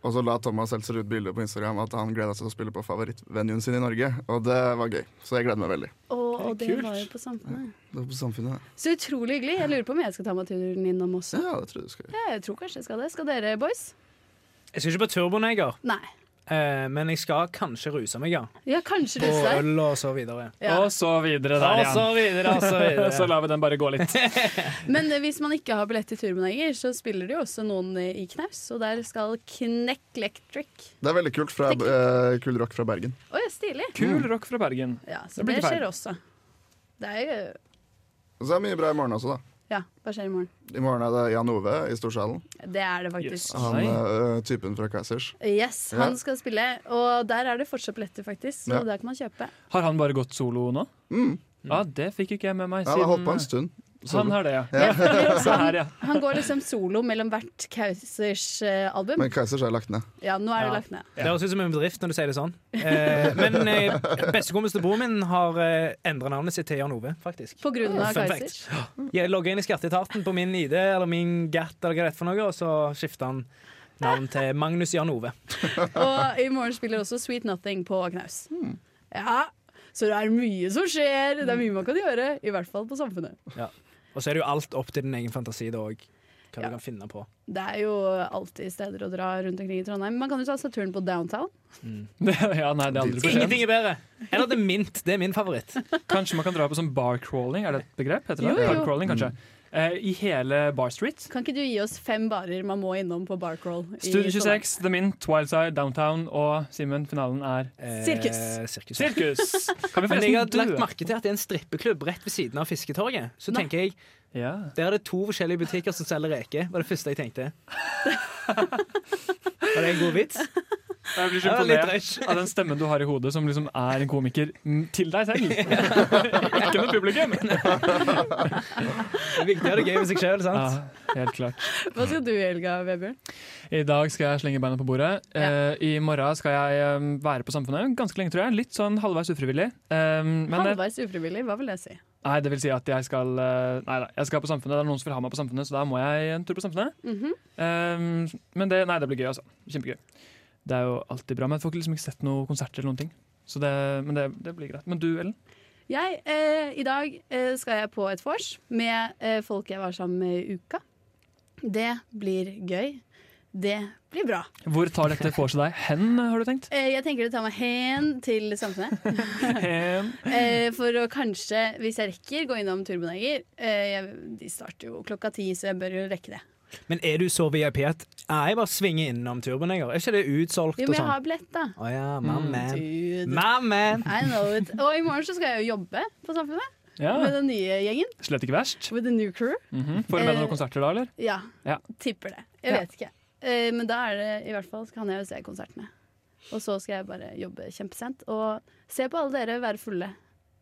Og så la Thomas Seltzer ut bilde på Instagram at han gleda seg til å spille på favorittvenuen sin i Norge. Og det var gøy, så jeg gleder meg veldig. Og, og det Kult. var jo på Samfunnet. Det var på samfunnet. Så utrolig hyggelig. Jeg lurer på om jeg skal ta meg turen innom også. Ja, det tror jeg du skal Jeg tror kanskje jeg skal det. Skal dere, boys? Jeg skal ikke på Turboneger, Nei. eh, men jeg skal kanskje ruse meg, ja. Ja, kanskje På du ser. øl og så videre. Ja. Og Og så videre der Og igjen. så videre, og så videre. Så lar vi den bare gå litt. Men eh, hvis man ikke har billett til Turboneger, så spiller det jo også noen eh, i knaus, og der skal Kneck Electric. Det er veldig kult fra eh, Kul rock fra Bergen. Å ja, stilig. Kul rock fra Bergen. Ja, så Det blir det, ikke feil. skjer også. Det er jo Og så er det mye bra i morgen også, da. Ja, hva skjer i morgen? I morgen er det Jan Ove i Storsalen. Det er det faktisk. Han eh, typen fra Kaizers. Yes, Ja. han skal spille, og der er det fortsatt billetter, faktisk. Så Ja. der kan man kjøpe. Har han bare gått solo nå? Ja, det fikk ikke jeg med meg Ja, han har holdt på en stund. Han har det, ja. Ja. Se her, ja. Han går liksom solo mellom hvert Kausers eh, album. Men Kaizers er lagt ned. Ja, nå er det Ja. lagt ned. Det høres ut som en bedrift når du sier det sånn. Eh, men eh, bestekompisen til broren min har eh, endra navnet sitt til Jan Ove, faktisk. På grunn av Fun Kaizers? fact. Jeg logga inn i skatteetaten på min ID eller min GAT eller hva det er for noe, og så skifta han navn til Magnus Jan Ove. Og i morgen spiller også Sweet Nothing på knaus. Hmm. Ja, så det er mye som skjer. Det er mye man kan gjøre. I hvert fall på Samfunnet. Ja. Og så er det jo alt opp til din egen fantasi da òg, hva du kan finne på. Det er jo alltid steder å dra rundt omkring i Trondheim. Man kan jo ta seg turen på downtown. ja, nei, det er aldri for sent. Mm. Ingenting er bedre! Eller det er mint. Det er min favoritt. Kanskje man kan dra på sånn bar crawling, er det et begrep? Heter det? Jo, jo. Bar crawling, kanskje. Eh, I hele Bar Street. Kan ikke du gi oss fem barer man må innom på Barcrawl? i Studio Trondheim? 26, The Mint, Wildside, Downtown og Simen, finalen er Sirkus. Eh, sirkus. Sirkus. Kan vi Men jeg har forresten lagt dø? merke til at det er en strippeklubb rett ved siden av Fisketorget. Så Nei. tenker jeg Der er det to forskjellige butikker som selger reker. var det første jeg tenkte. Var det en god vits? Jeg blir så Ja, litt imponert av den stemmen du har i hodet, som liksom er en komiker mm, til deg selv. Ikke med publikum. Det er viktig å ha det gøy med seg sjøl, sant? Ja, helt klart. Hva skal du i helga, Vebjørn? I dag skal jeg slenge beina på bordet. Eh, I morgen skal jeg eh, være på Samfunnet ganske lenge, tror jeg. Litt sånn halvveis ufrivillig. Eh, men det, Halvveis ufrivillig, hva vil det si? nei, det vil si at jeg skal eh, Nei da, jeg skal på Samfunnet. Det er noen som vil ha meg på Samfunnet, så da må jeg en tur på Samfunnet. Mhm. Eh, men det, nei, det blir gøy, altså. Kjempegøy. Det er jo alltid bra. Men jeg får liksom ikke sett noen konserter eller noen ting. Så det, men det, det blir greit. Men du, Ellen? Jeg, eh, I dag eh, skal jeg på et vors med eh, folk jeg var sammen med i uka. Det blir gøy. Det blir bra. Hvor tar dette for seg deg hen, har du tenkt? Eh, jeg tenker å ta meg hen til samfunnet. Hen. Eh, for å kanskje, hvis jeg rekker, gå innom Turboneger. Eh, jeg- de starter jo klokka ti, så jeg bør jo rekke det. Men er du så VIP at ja, jeg bare svinger innom turboen, jeg? Er ikke det utsolgt Jo, og men jeg har sånn? billett, da. Å ja, my Mm. man. Dude. My man. I know it. Og i morgen så skal jeg jo jobbe på Samfunnet. Ja. Med den nye gjengen. Slett ikke verst. With the new crew. Mhm. Får du med deg noen konserter da, eller? Ja. Ja. Tipper det. Jeg Ja. vet ikke. Eh, Men da er det i hvert fall kan jeg jo se konsertene. Og så skal jeg bare jobbe kjempesent og se på alle dere være fulle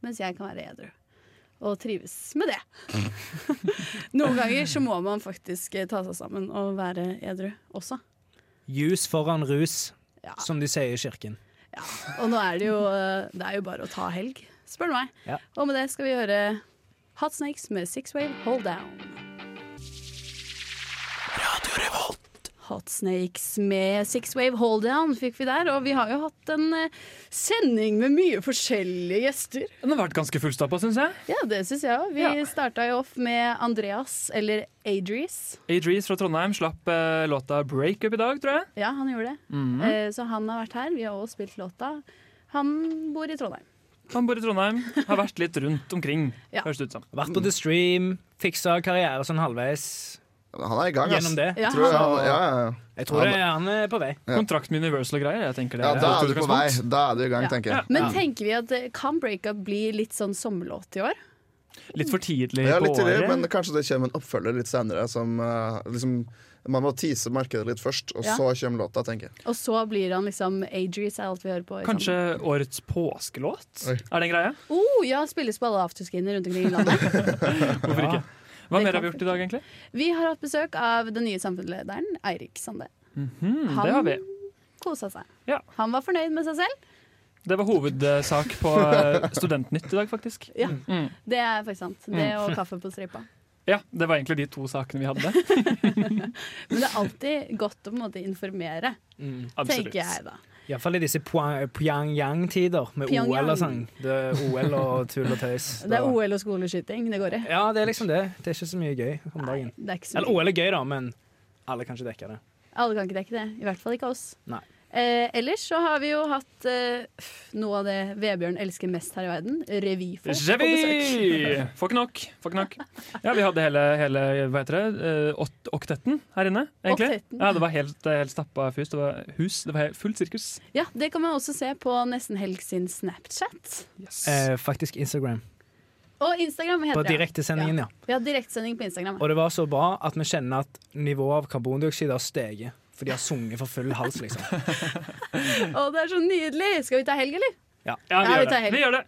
mens jeg kan være edru. Og trives med det. Noen ganger så må man faktisk eh, ta seg sammen og være edru også. Jus foran rus, som de sier i kirken. Og nå er det jo eh, Det er jo bare å ta helg, spør du meg. Ja. Og med det skal vi høre Hot Snakes med Six Wave Hold Down. Hot Snakes med Six Wave Hold Down fikk vi der, og vi har jo hatt en eh, sending med mye forskjellige gjester. Den har vært ganske fullstappa, syns jeg. Ja, det syns jeg òg. Vi starta jo off med Andreas, eller Adries. Adrees fra Trondheim slapp eh, låta 'Breakup' i dag, tror jeg. Ja, han gjorde det. Mhm. Eh, Så han har vært her. Vi har òg spilt låta. Han bor i Trondheim. Han bor i Trondheim, har vært litt rundt omkring, Ja. høres det ut som. Vært på The Stream, fiksa karriere sånn halvveis. Han er i gang, ass. Gjennom det. Ja, Tror jeg han- han- ja, ja, ja. Jeg tror det, Han- han er på vei. Ja. Kontrakt med Universal og greier. Jeg tenker det Ja, da alt er du på vei. utgangspunkt. Da er du i gang, tenker jeg. Men tenker vi at eh, kan breakup bli litt sånn sommerlåt i år? Litt for tidlig Ja, på litt tidligere, året. men kanskje det kommer en oppfølger litt senere. Som, eh, liksom, man må tease markedet litt først, og Ja. så kommer låta, tenker jeg. Og så blir han liksom Adries er alt vi hører på. liksom. i Kanskje årets påskelåt? Er det en greie? sommer. Oh, ja, spilles på alle afterskinner rundt omkring i landet. Hvorfor ikke? Hva mer har vi gjort i dag, egentlig? Vi har hatt besøk av den nye samfunnslederen, Eirik Sande. Mhm, Han- det har vi. Kosa seg. Ja. Han var fornøyd med seg selv. Det var hovedsak på eh, Studentnytt i dag, faktisk. Mm. Ja. Det er faktisk sant. Det Mm. og kaffe på stripa. Ja, det var egentlig de to sakene vi hadde. Men det er alltid godt å på en måte informere, Mm. tenker jeg da. Iallfall i disse Pua- Pyongyang-tider, med Pyongyang. OL og sånn. Det er OL og tull og tøys. Det er OL og skoleskyting, det går i. Ja, det er liksom det. Det er ikke så mye gøy om dagen. Det er ikke så Eller mye. OL er gøy, da, men alle kan ikke dekke det. Alle kan ikke dekke det, i hvert fall ikke oss. Nei. Eh, ellers så har vi jo hatt eh, pff, noe av det Vebjørn elsker mest her i verden, revyfolk på Revy! besøk. Får ikke nok. Får ikke nok. Ja, vi hadde hele, hele hva heter det, eh, åt- oktetten her inne, egentlig. Oktetten. Ja, det var helt, helt stappa hus. Det var, hus. Det var helt, fullt sirkus. Ja, det kan man også se på Nesten Helg sin Snapchat. Eh, faktisk Instagram. Og Instagram, hva På heter det? direktesendingen, ja. Vi har direktesending på Instagram. Og det var så bra at vi kjenner at nivået av karbondioksid har steget. For de har sunget for full hals, liksom. Å, det er så nydelig! Skal vi ta helg, eller? Ja, Ja, vi Ja, vi gjør det. tar helg. Vi gjør det.